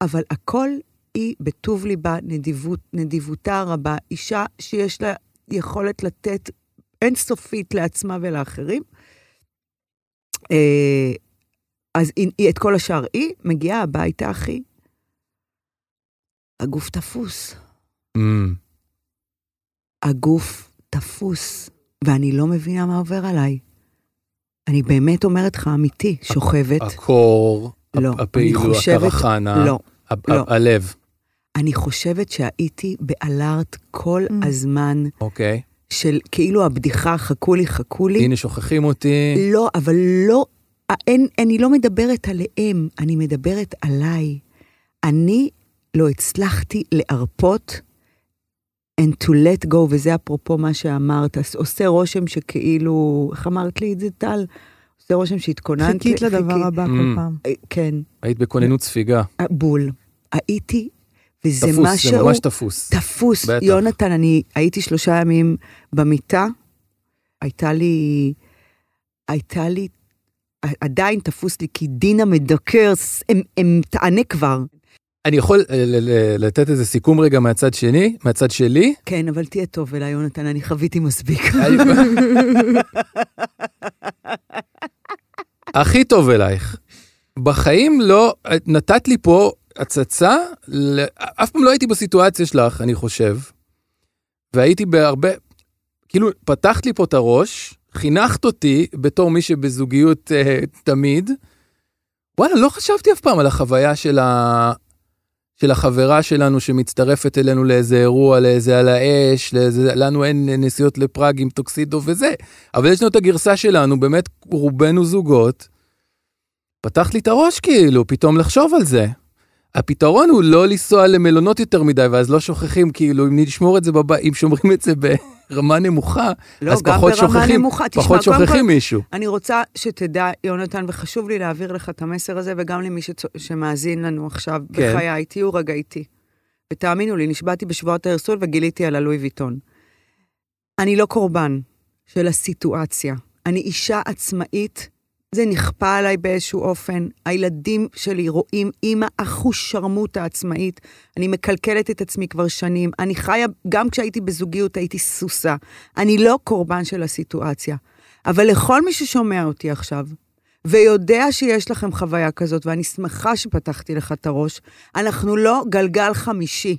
Speaker 1: אבל הכל היא בטוב ליבה, נדיבות, נדיבותה הרבה, אישה שיש לה יכולת לתת אינסופית לעצמה ולאחרים. אה, אז היא, היא, את כל השאר היא, מגיעה הביתה, אחי. הגוף תפוס.
Speaker 3: אמ,
Speaker 1: הגוף תפוס, ואני לא מבינה מה עובר עליי. אני באמת אומרת לך, אמיתי, שוכבת.
Speaker 3: הקור,
Speaker 1: לא,
Speaker 3: הפ- הפעילות,
Speaker 1: אני חושבת-
Speaker 3: הקרחנה,
Speaker 1: לא.
Speaker 3: ה-
Speaker 1: לא.
Speaker 3: ה- הלב,
Speaker 1: אני חושבת שהייתי באלארט כל
Speaker 5: Mm.
Speaker 1: הזמן
Speaker 3: אוקיי.
Speaker 1: של כאילו הבדיחה, חכו לי, חכו לי.
Speaker 3: הנה שוכחים אותי.
Speaker 1: לא, אבל לא, אין, אני לא מדברת עליהם, אני מדברת עליי. אני לא הצלחתי להרפות and to let go, וזה אפרופו מה שאמרת, אז עושה רושם שכאילו, איך אמרת לי את זה, טל? עושה רושם שהתכוננת.
Speaker 5: חיכית לדבר
Speaker 1: חיכית-
Speaker 5: הבא
Speaker 3: אמ.
Speaker 5: כל פעם.
Speaker 1: אה, כן,
Speaker 3: היית בכוננות ספיגה.
Speaker 1: אה, בול. הייתי, וזה
Speaker 3: תפוס,
Speaker 1: משהו...
Speaker 3: זה ממש תפוס.
Speaker 1: תפוס.
Speaker 3: בטח.
Speaker 1: יונתן, אני הייתי שלושה ימים במיטה, הייתה לי, הייתה לי, עדיין תפוס לי, כי דינה מדקר, ס- הם, הם תענה כבר.
Speaker 3: אני יכול אה, ל- ל- לתת איזה סיכום רגע מהצד שני, מהצד שלי?
Speaker 1: כן, אבל תהיה טוב אליי, יונתן, אני חוויתי מספיק.
Speaker 3: הכי טוב אלייך. בחיים לא, נתת לי פה הצצה, ל- אף פעם לא הייתי בסיטואציה שלך, אני חושב, והייתי בהרבה, כאילו, פתחת לי פה את הראש, חינכת אותי בתור מי שבזוגיות אה, תמיד. וואלה, לא חשבתי אף פעם על החוויה של, ה... של החברה שלנו שמצטרפת אלינו לאיזה אירוע, לאיזה על האש, לאיזה... לנו אין נסיעות לפראג עם טוקסידו וזה. אבל יש לנו את הגרסה שלנו, באמת רובנו זוגות. פתחת לי את הראש כאילו, פתאום לחשוב על זה. הפתרון הוא לא לנסוע למלונות יותר מדי, ואז לא שוכחים, כאילו, אם נשמור את זה בבית, אם שומרים את זה ברמה נמוכה,
Speaker 1: לא,
Speaker 3: אז
Speaker 1: גם
Speaker 3: פחות
Speaker 1: ברמה
Speaker 3: שוכחים,
Speaker 1: נמוכה. תשמע,
Speaker 3: פחות
Speaker 1: קודם
Speaker 3: שוכחים
Speaker 1: כל-
Speaker 3: מישהו.
Speaker 1: אני רוצה שתדע, יונתן, וחשוב לי להעביר לך את המסר הזה, וגם למי שצו- שמאזין לנו עכשיו,
Speaker 3: כן.
Speaker 1: בחיי, תהיו רגע איתי. ותאמינו לי, נשבעתי בשבועת ההרסול וגיליתי על הלואי ויטון. אני לא קורבן של הסיטואציה. אני אישה עצמאית, זה נכפה עליי באיזשהו אופן. הילדים שלי רואים אימא אחושרמוטה עצמאית. אני מקלקלת את עצמי כבר שנים. אני חיה, גם כשהייתי בזוגיות הייתי סוסה. אני לא קורבן של הסיטואציה. אבל לכל מי ששומע אותי עכשיו, ויודע שיש לכם חוויה כזאת, ואני שמחה שפתחתי לך את הראש, אנחנו לא גלגל חמישי.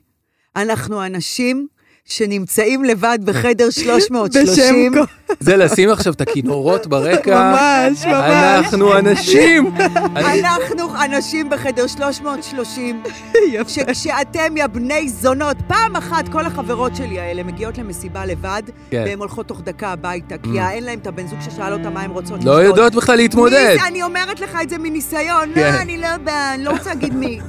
Speaker 1: אנחנו אנשים שנמצאים לבד בחדר 330.
Speaker 5: בשם
Speaker 3: זה לשים עכשיו את הכינורות ברקע.
Speaker 5: ממש,
Speaker 1: אה,
Speaker 5: ממש.
Speaker 3: אנחנו אנשים. אני-
Speaker 1: אנחנו אנשים בחדר 330,
Speaker 5: יפה.
Speaker 1: שכשאתם, יא בני זונות, פעם אחת כל החברות שלי האלה מגיעות למסיבה לבד,
Speaker 3: כן. Mm.
Speaker 1: והן הולכות תוך דקה הביתה, כי אין להן את הבן זוג ששאל אותה מה הן רוצות
Speaker 3: לא יודעות בכלל להתמודד.
Speaker 1: מי זה? אני אומרת לך את זה מניסיון.
Speaker 3: כן.
Speaker 1: לא, אני לא באה, אני לא רוצה להגיד מי.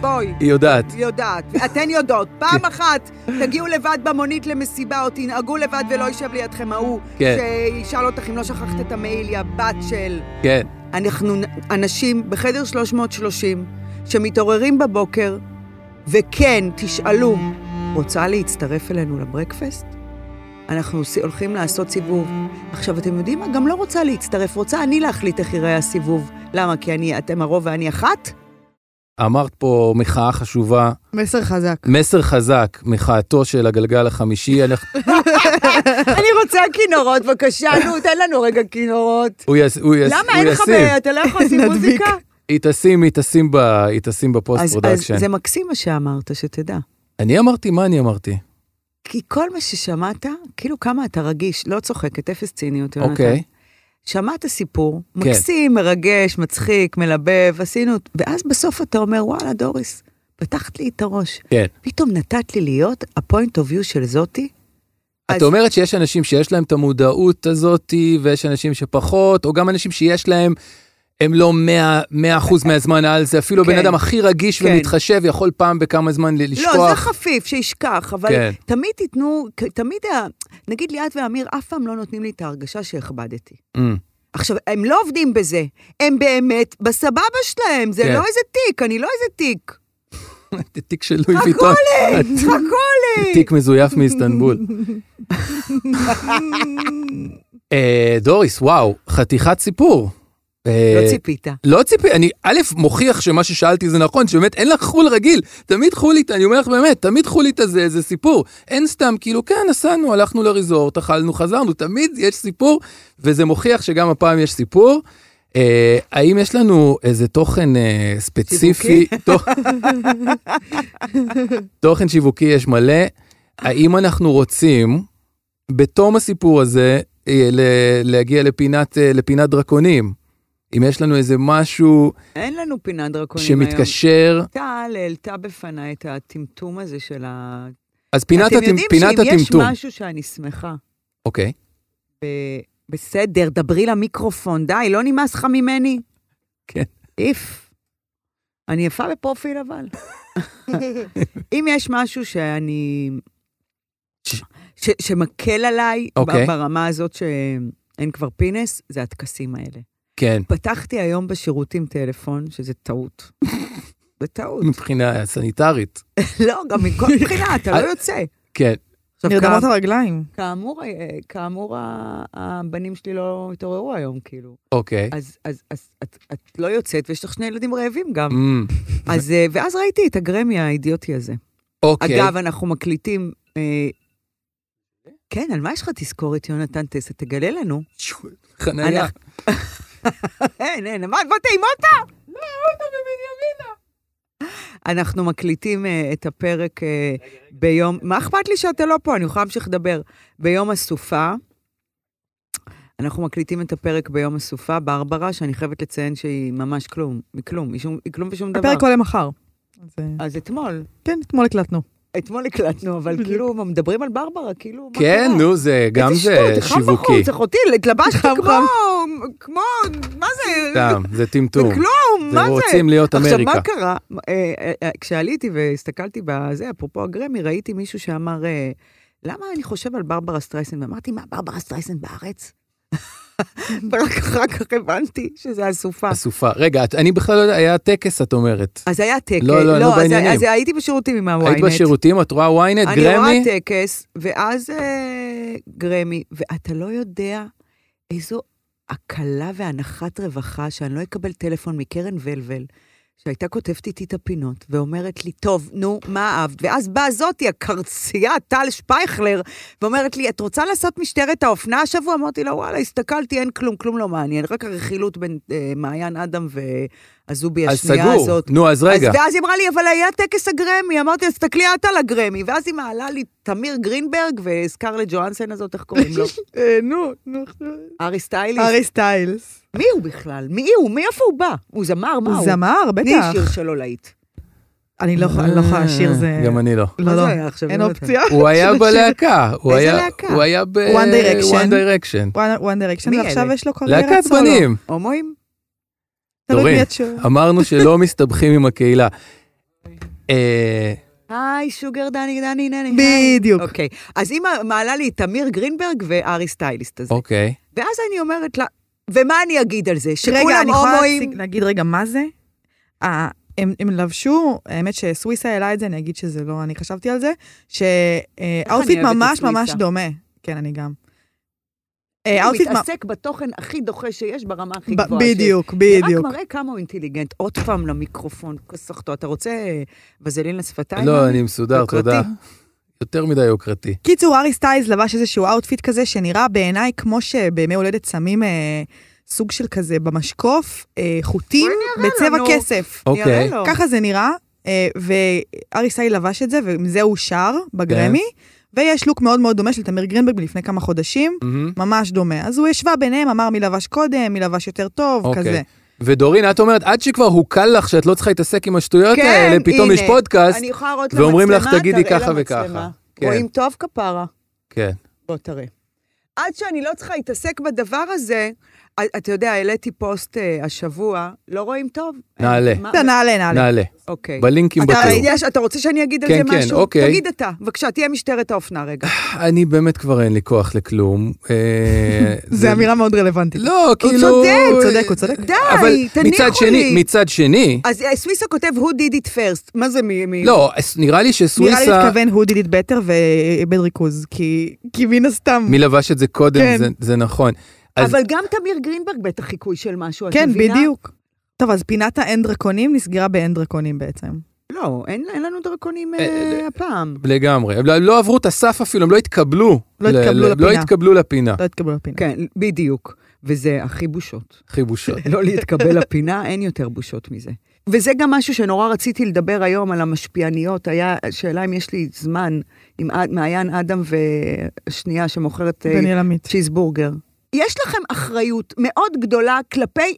Speaker 1: בואי.
Speaker 3: היא יודעת.
Speaker 1: יודעת, אתן יודעות.
Speaker 3: כן.
Speaker 1: פעם אחת תגיעו לבד במונית למסיבה, או תנהגו לבד ולא יישב לידכם ההוא,
Speaker 3: כן.
Speaker 1: שישאל אותך אם לא שכחת את המעיל, יא בת של...
Speaker 3: כן.
Speaker 1: אנחנו נ- אנשים בחדר 330 שמתעוררים בבוקר, וכן, תשאלו, רוצה להצטרף אלינו לברקפסט? אנחנו עושים- הולכים לעשות סיבוב. עכשיו, אתם יודעים מה? גם לא רוצה להצטרף, רוצה אני להחליט איך ייראה הסיבוב. למה? כי אני, אתם הרוב ואני אחת?
Speaker 3: אמרת פה מחאה חשובה,
Speaker 5: מסר חזק.
Speaker 3: מסר חזק, מחאתו של הגלגל החמישי. אנחנו-
Speaker 1: אני רוצה כינורות, בבקשה, נו, תן לנו רגע כינורות.
Speaker 3: הוא יס- הוא יס-
Speaker 1: למה
Speaker 3: הוא
Speaker 1: אין לך,
Speaker 3: ישים.
Speaker 1: ב- אתה לא יכול לשים
Speaker 5: נדביק.
Speaker 1: מוזיקה?
Speaker 3: היא תשים, היא תשים ב- היא תשים בפוסט
Speaker 1: אז אז
Speaker 3: פרודקשן.
Speaker 1: זה מקסים מה שאמרת, שתדע.
Speaker 3: אני אמרתי, מה אני אמרתי?
Speaker 1: כי כל מה ששמעת, כאילו כמה אתה רגיש, לא צוחקת, אפס ציניות, יונתן.
Speaker 3: אוקיי.
Speaker 1: שמעת סיפור,
Speaker 3: כן.
Speaker 1: מקסים, מרגש, מצחיק, מלבב, עשינו, ואז בסוף אתה אומר, וואלה, דוריס, פתחת לי את הראש.
Speaker 3: כן.
Speaker 1: פתאום נתת לי להיות ה-point of view של זאתי.
Speaker 3: את
Speaker 1: אז-
Speaker 3: אומרת שיש אנשים שיש להם את המודעות הזאתי, ויש אנשים שפחות, או גם אנשים שיש להם, הם לא 100, 100 אחוז מהזמן על זה, אפילו הבן
Speaker 1: כן.
Speaker 3: אדם הכי רגיש
Speaker 1: כן.
Speaker 3: ומתחשב יכול פעם בכמה זמן ל- לשכוח.
Speaker 1: לא, זה חפיף, שישכח, אבל
Speaker 3: כן.
Speaker 1: כן. תמיד תיתנו, תמיד, ה- נגיד ליאת ואמיר אף פעם לא נותנים לי את ההרגשה שהכבדתי.
Speaker 3: Mm,
Speaker 1: עכשיו, הם לא עובדים בזה, הם באמת בסבבה שלהם, זה
Speaker 3: כן.
Speaker 1: לא איזה תיק, אני לא איזה תיק.
Speaker 3: תיק של לואי
Speaker 6: חכו
Speaker 3: ויטון.
Speaker 6: לי, חכו לי.
Speaker 3: אה, תיק מזויף מאיסטנבול. אה, דוריס, וואו, חתיכת סיפור. אה,
Speaker 1: לא ציפית.
Speaker 3: לא ציפי, אני א', מוכיח שמה ששאלתי זה נכון, שבאמת אין לך חול רגיל, תמיד חולית, אני אומר לך באמת, תמיד חולית הזה זה סיפור. אין סתם, כאילו, כן, נסענו, הלכנו לריזורט, אכלנו, חזרנו, תמיד יש סיפור, וזה מוכיח שגם הפעם יש סיפור. אה, האם יש לנו איזה תוכן אה, ספציפי? תוכ- תוכן שיווקי יש מלא. האם אנחנו רוצים, בתום הסיפור הזה, אה, ל- להגיע לפינת, אה, לפינת דרקונים? אם יש לנו איזה משהו
Speaker 1: אין לנו פינת דרקונים היום.
Speaker 3: שמתקשר,
Speaker 1: טל העלתה בפניי את הטמטום הזה של ה...
Speaker 3: אז פינת
Speaker 1: אתם יודעים
Speaker 3: הטמ- פינת
Speaker 1: שאם יש
Speaker 3: הטמטום.
Speaker 1: משהו שאני שמחה,
Speaker 3: אוקיי.
Speaker 1: ב- בסדר, דברי למיקרופון, די, לא נמאס לך ממני?
Speaker 3: כן.
Speaker 1: איף. אני יפה בפרופיל אבל. אם יש משהו שאני...
Speaker 3: ש-
Speaker 1: ש- שמקל עליי
Speaker 3: אוקיי.
Speaker 1: ב- ברמה הזאת שאין כבר פינס, זה הטקסים האלה.
Speaker 3: כן,
Speaker 1: פתחתי היום בשירותים טלפון, שזה טעות. זה טעות.
Speaker 3: מבחינה סניטרית.
Speaker 1: לא, גם מכל בחינה, אתה לא יוצא.
Speaker 3: כן,
Speaker 1: עכשיו,
Speaker 5: נרדמות
Speaker 1: כאמ-
Speaker 5: הרגליים.
Speaker 1: כאמור, אה, כאמור, ה- הבנים שלי לא התעוררו היום, כאילו.
Speaker 3: אוקיי.
Speaker 1: אז, אז, אז את, את לא יוצאת, ויש לך שני ילדים רעבים גם.
Speaker 3: אמ,
Speaker 1: אז, אה, ואז ראיתי את הגרמי האידיוטי הזה.
Speaker 3: אוקיי.
Speaker 1: אגב, אנחנו מקליטים... אה, כן, על מה יש לך תזכורת, יונתן טסה? תגלה לנו.
Speaker 3: חניה.
Speaker 1: אנחנו- אין, אין, מה, בוא טעימות אותה? לא, אותה בבנימינה. אנחנו מקליטים אה, את הפרק אה, ביום... מה אכפת לי שאתה לא פה? אני יכולה להמשיך לדבר. ביום הסופה. אנחנו מקליטים את הפרק ביום הסופה, ברברה, שאני חייבת לציין שהיא ממש כלום, היא כלום, היא, שום, היא כלום ושום דבר.
Speaker 5: הפרק עולה מחר. אז, אה,
Speaker 1: אז אתמול,
Speaker 5: כן, אתמול הקלטנו.
Speaker 1: אתמול הקלטנו, אבל כאילו, מדברים על ברברה, כאילו, מה
Speaker 3: כן,
Speaker 1: קרה?
Speaker 3: נו, זה גם
Speaker 1: איזה
Speaker 3: זה
Speaker 1: שטות, חם
Speaker 3: שיווקי.
Speaker 1: בחוץ, אחותי, התלבשת
Speaker 5: חם,
Speaker 1: כמו,
Speaker 5: חם.
Speaker 1: כמו, מה זה?
Speaker 3: סתם, זה
Speaker 1: זה
Speaker 3: טמטום.
Speaker 1: כלום,
Speaker 3: זה
Speaker 1: מה זה?
Speaker 3: רוצים להיות אמריקה.
Speaker 1: עכשיו, מה קרה? אה, אה, אה, כשעליתי והסתכלתי בזה, אפרופו הגרמי, ראיתי מישהו שאמר, אה, למה אני חושב על ברברה סטרייסן? ואמרתי, מה, ברברה סטרייסן בארץ? ורק אחר כך הבנתי שזה הסופה.
Speaker 3: אסופה. רגע, את- אני בכלל לא יודע, היה טקס, את אומרת.
Speaker 1: אז היה טקס.
Speaker 3: לא, לא, לא
Speaker 1: אז-
Speaker 3: בעניינים.
Speaker 1: אז הייתי בשירותים עם הוויינט.
Speaker 3: היית בשירותים, את רואה ynet,
Speaker 1: אה, אני
Speaker 3: גרמי?
Speaker 1: רואה טקס, ואז אה, גרמי, ואתה לא יודע איזו הקלה והנחת רווחה, שאני לא אקבל טלפון מקרן ולבל, שהייתה כותבת איתי את הפינות, ואומרת לי, טוב, נו, מה אהבת? ואז באה זאתי, הקרצייה, טל שפייכלר, ואומרת לי, את רוצה לעשות משטרת האופנה השבוע? אמרתי לה, וואלה, הסתכלתי, אין כלום, כלום לא מעניין, רק הרכילות בין אה, מעיין אדם והזובי
Speaker 3: אז
Speaker 1: השנייה
Speaker 3: סגור.
Speaker 1: הזאת.
Speaker 3: נו, אז רגע.
Speaker 1: אז, ואז היא אמרה לי, אבל היה טקס הגרמי. אמרתי, אז תסתכלי את על הגרמי. ואז היא מעלה לי תמיר גרינברג וסקרלט ג'ואנסן הזאת, איך קוראים לו?
Speaker 5: אה, נו, נו.
Speaker 1: ארי סטייליס.
Speaker 5: ארי סטיילס.
Speaker 1: מי הוא בכלל? מי הוא? מאיפה הוא בא? הוא זמר, מה
Speaker 5: הוא
Speaker 1: הוא?
Speaker 5: זמר,
Speaker 1: תני שיר
Speaker 5: בטח.
Speaker 1: שלו להיט.
Speaker 5: אני לא יכולה- לא יכולה לשיר זה...
Speaker 3: אה, גם אני לא.
Speaker 5: לא,
Speaker 1: מה
Speaker 5: לא.
Speaker 1: זה היה עכשיו?
Speaker 5: אין
Speaker 1: יונתן?
Speaker 5: אופציה.
Speaker 3: הוא היה בלהקה. הוא
Speaker 1: איזה
Speaker 3: היה-
Speaker 1: להקה?
Speaker 3: הוא היה ב...
Speaker 5: One Direction.
Speaker 3: One Direction.
Speaker 5: One One Direction,
Speaker 1: מי
Speaker 5: ועכשיו
Speaker 1: אלה?
Speaker 5: יש לו קריירת סולו.
Speaker 3: להקת
Speaker 1: לא.
Speaker 3: בנים.
Speaker 1: הומואים?
Speaker 5: תלוי
Speaker 3: דורין.
Speaker 5: מי את
Speaker 1: אוקיי.
Speaker 5: שואלת.
Speaker 3: אמרנו שלא מסתבכים עם הקהילה. אה,
Speaker 1: היי, שוגר דני דני נני. היי.
Speaker 5: בדיוק.
Speaker 1: אוקיי. אז היא מעלה לי את תמיר גרינברג וארי סטייליסט הזה.
Speaker 3: אוקיי.
Speaker 1: ואז אני אומרת לה, ומה אני אגיד על זה?
Speaker 5: רגע,
Speaker 1: שכולם
Speaker 5: אני יכולה
Speaker 1: הומואים?
Speaker 5: להציג- להגיד רגע מה זה? אה, הם, הם לבשו, האמת שסוויסה העלה את זה, אני אגיד שזה לא, אני חשבתי על זה,
Speaker 1: אני
Speaker 5: שהאופיט
Speaker 1: אוהבת את
Speaker 5: ממש ממש
Speaker 1: סוויסה. דומה.
Speaker 5: דומה. כן, אני גם.
Speaker 1: הוא
Speaker 5: אה, האופיט ממ-
Speaker 1: מתעסק בתוכן הכי דוחה שיש ברמה הכי
Speaker 5: ב-
Speaker 1: גבוהה שיש.
Speaker 5: בדיוק,
Speaker 1: זה
Speaker 5: בדיוק.
Speaker 1: רק מראה כמה הוא אינטליגנט. עוד פעם למיקרופון, כסחתו. אתה רוצה אה, וזלין לשפתיים?
Speaker 3: לא,
Speaker 1: מאמי?
Speaker 3: אני מסודר,
Speaker 1: יוקרתי.
Speaker 3: תודה. יותר מדי יוקרתי.
Speaker 5: קיצור, ארי סטיילס לבש איזשהו אאוטפיט כזה, שנראה בעיניי כמו שבימי הולדת שמים אה, סוג של כזה במשקוף, אה, חוטים בצבע
Speaker 1: לנו.
Speaker 5: כסף.
Speaker 1: אני אראה
Speaker 3: אוקיי.
Speaker 1: לו.
Speaker 5: ככה זה נראה, אה, וארי סטיילס לבש את זה, ועם זה הוא שר בגרמי, ויש לוק מאוד מאוד דומה של תמיר גרינברג מלפני כמה חודשים.
Speaker 3: מהמם.
Speaker 5: ממש דומה. אז הוא השווה ביניהם, אמר מי לבש קודם, מי לבש יותר טוב,
Speaker 3: אוקיי.
Speaker 5: כזה.
Speaker 3: ודורין, את אומרת, עד שכבר הוקל לך שאת לא צריכה להתעסק עם השטויות
Speaker 1: כן,
Speaker 3: האלה, אה, פתאום
Speaker 1: הנה.
Speaker 3: יש פודקאסט.
Speaker 1: אני יכולה להראות למצלמה,
Speaker 3: ואומרים לך, תגידי
Speaker 1: תראה
Speaker 3: ככה
Speaker 1: למצלמה.
Speaker 3: וככה. כן.
Speaker 1: רואים טוב כפרה?
Speaker 3: כן.
Speaker 1: בוא תראה. עד שאני לא צריכה להתעסק בדבר הזה, אתה יודע, העליתי פוסט אה, השבוע, לא רואים טוב?
Speaker 3: נעלה.
Speaker 1: מה-
Speaker 5: נעלה, נעלה.
Speaker 3: נעלה.
Speaker 1: אוקיי.
Speaker 3: בלינקים
Speaker 1: אתה,
Speaker 3: בתיאור.
Speaker 1: יש, אתה רוצה שאני אגיד על
Speaker 3: כן,
Speaker 1: זה
Speaker 3: כן,
Speaker 1: משהו?
Speaker 3: אוקיי.
Speaker 1: תגיד אתה. בבקשה, תהיה משטרת האופנה רגע.
Speaker 3: אני באמת כבר אין לי כוח לכלום. אה,
Speaker 5: זו אמירה מאוד רלוונטית.
Speaker 3: לא,
Speaker 1: הוא
Speaker 3: כאילו... אה,
Speaker 1: צודק,
Speaker 5: הוא צודק, הוא צודק.
Speaker 1: די,
Speaker 3: אבל
Speaker 1: תניחו
Speaker 3: מצד שני,
Speaker 1: לי.
Speaker 3: מצד שני,
Speaker 1: אז אה, סוויסה כותב, who did it first? מה זה מי? מי-
Speaker 3: לא, נראה לי
Speaker 5: נראה לי
Speaker 3: שסוויסה,
Speaker 5: התכוון who did it better ואיבד ריכוז, כי כי מן הסתם.
Speaker 3: מי לבש את זה קודם,
Speaker 5: כן.
Speaker 3: זה- זה נכון. אז
Speaker 1: אבל גם תמיר גרינברג בטח חיקוי של משהו, את
Speaker 5: כן,
Speaker 1: מבינה?
Speaker 5: בדיוק. טוב, אז פינת האין דרקונים נסגרה באין דרקונים בעצם.
Speaker 1: לא, אין אין לנו דרקונים אה,
Speaker 3: אה,
Speaker 1: הפעם.
Speaker 3: לגמרי. הם לא- לא עברו את הסף אפילו, הם לא התקבלו.
Speaker 5: לא
Speaker 3: ל-
Speaker 5: התקבלו
Speaker 3: ל- לא
Speaker 5: לפינה.
Speaker 3: התקבלו לפינה.
Speaker 5: לא התקבלו לפינה.
Speaker 1: כן, בדיוק. וזה הכי בושות.
Speaker 3: חיבושות.
Speaker 1: לא להתקבל לפינה, אין יותר בושות מזה. וזה גם משהו שנורא רציתי לדבר היום על המשפיעניות, היה שאלה אם יש לי זמן עם עד- מעיין אדם והשנייה שמוכרת אה,
Speaker 5: דניאל עמית.
Speaker 1: צ'יזבורגר. יש לכם אחריות מאוד גדולה כלפי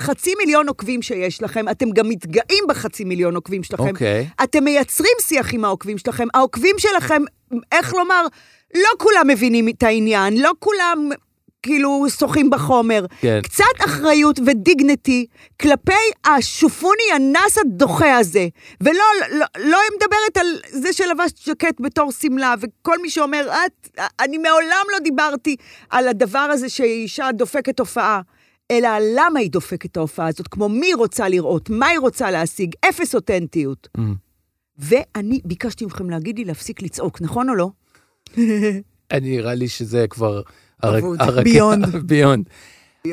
Speaker 1: חצי מיליון עוקבים שיש לכם, אתם גם מתגאים בחצי מיליון עוקבים שלכם.
Speaker 3: אוקיי.
Speaker 1: אתם מייצרים שיח עם העוקבים שלכם, העוקבים שלכם, איך לומר, לא כולם מבינים את העניין, לא כולם כאילו שוחים בחומר.
Speaker 3: כן.
Speaker 1: קצת אחריות ודיגנטי כלפי השופוני הנס הדוחה הזה. ולא לא, לא מדברת על זה שלבשת ז'קט בתור שמלה, וכל מי שאומר, את, אני מעולם לא דיברתי על הדבר הזה שאישה דופקת הופעה. אלא על למה היא דופקת את ההופעה הזאת, כמו מי היא רוצה לראות, מה היא רוצה להשיג, אפס אותנטיות. ואני ביקשתי מכם להגיד לי להפסיק לצעוק, נכון או לא?
Speaker 3: אני נראה לי שזה כבר... הרק-
Speaker 1: אבוד.
Speaker 3: הרק-
Speaker 5: ביונד.
Speaker 3: ביונד.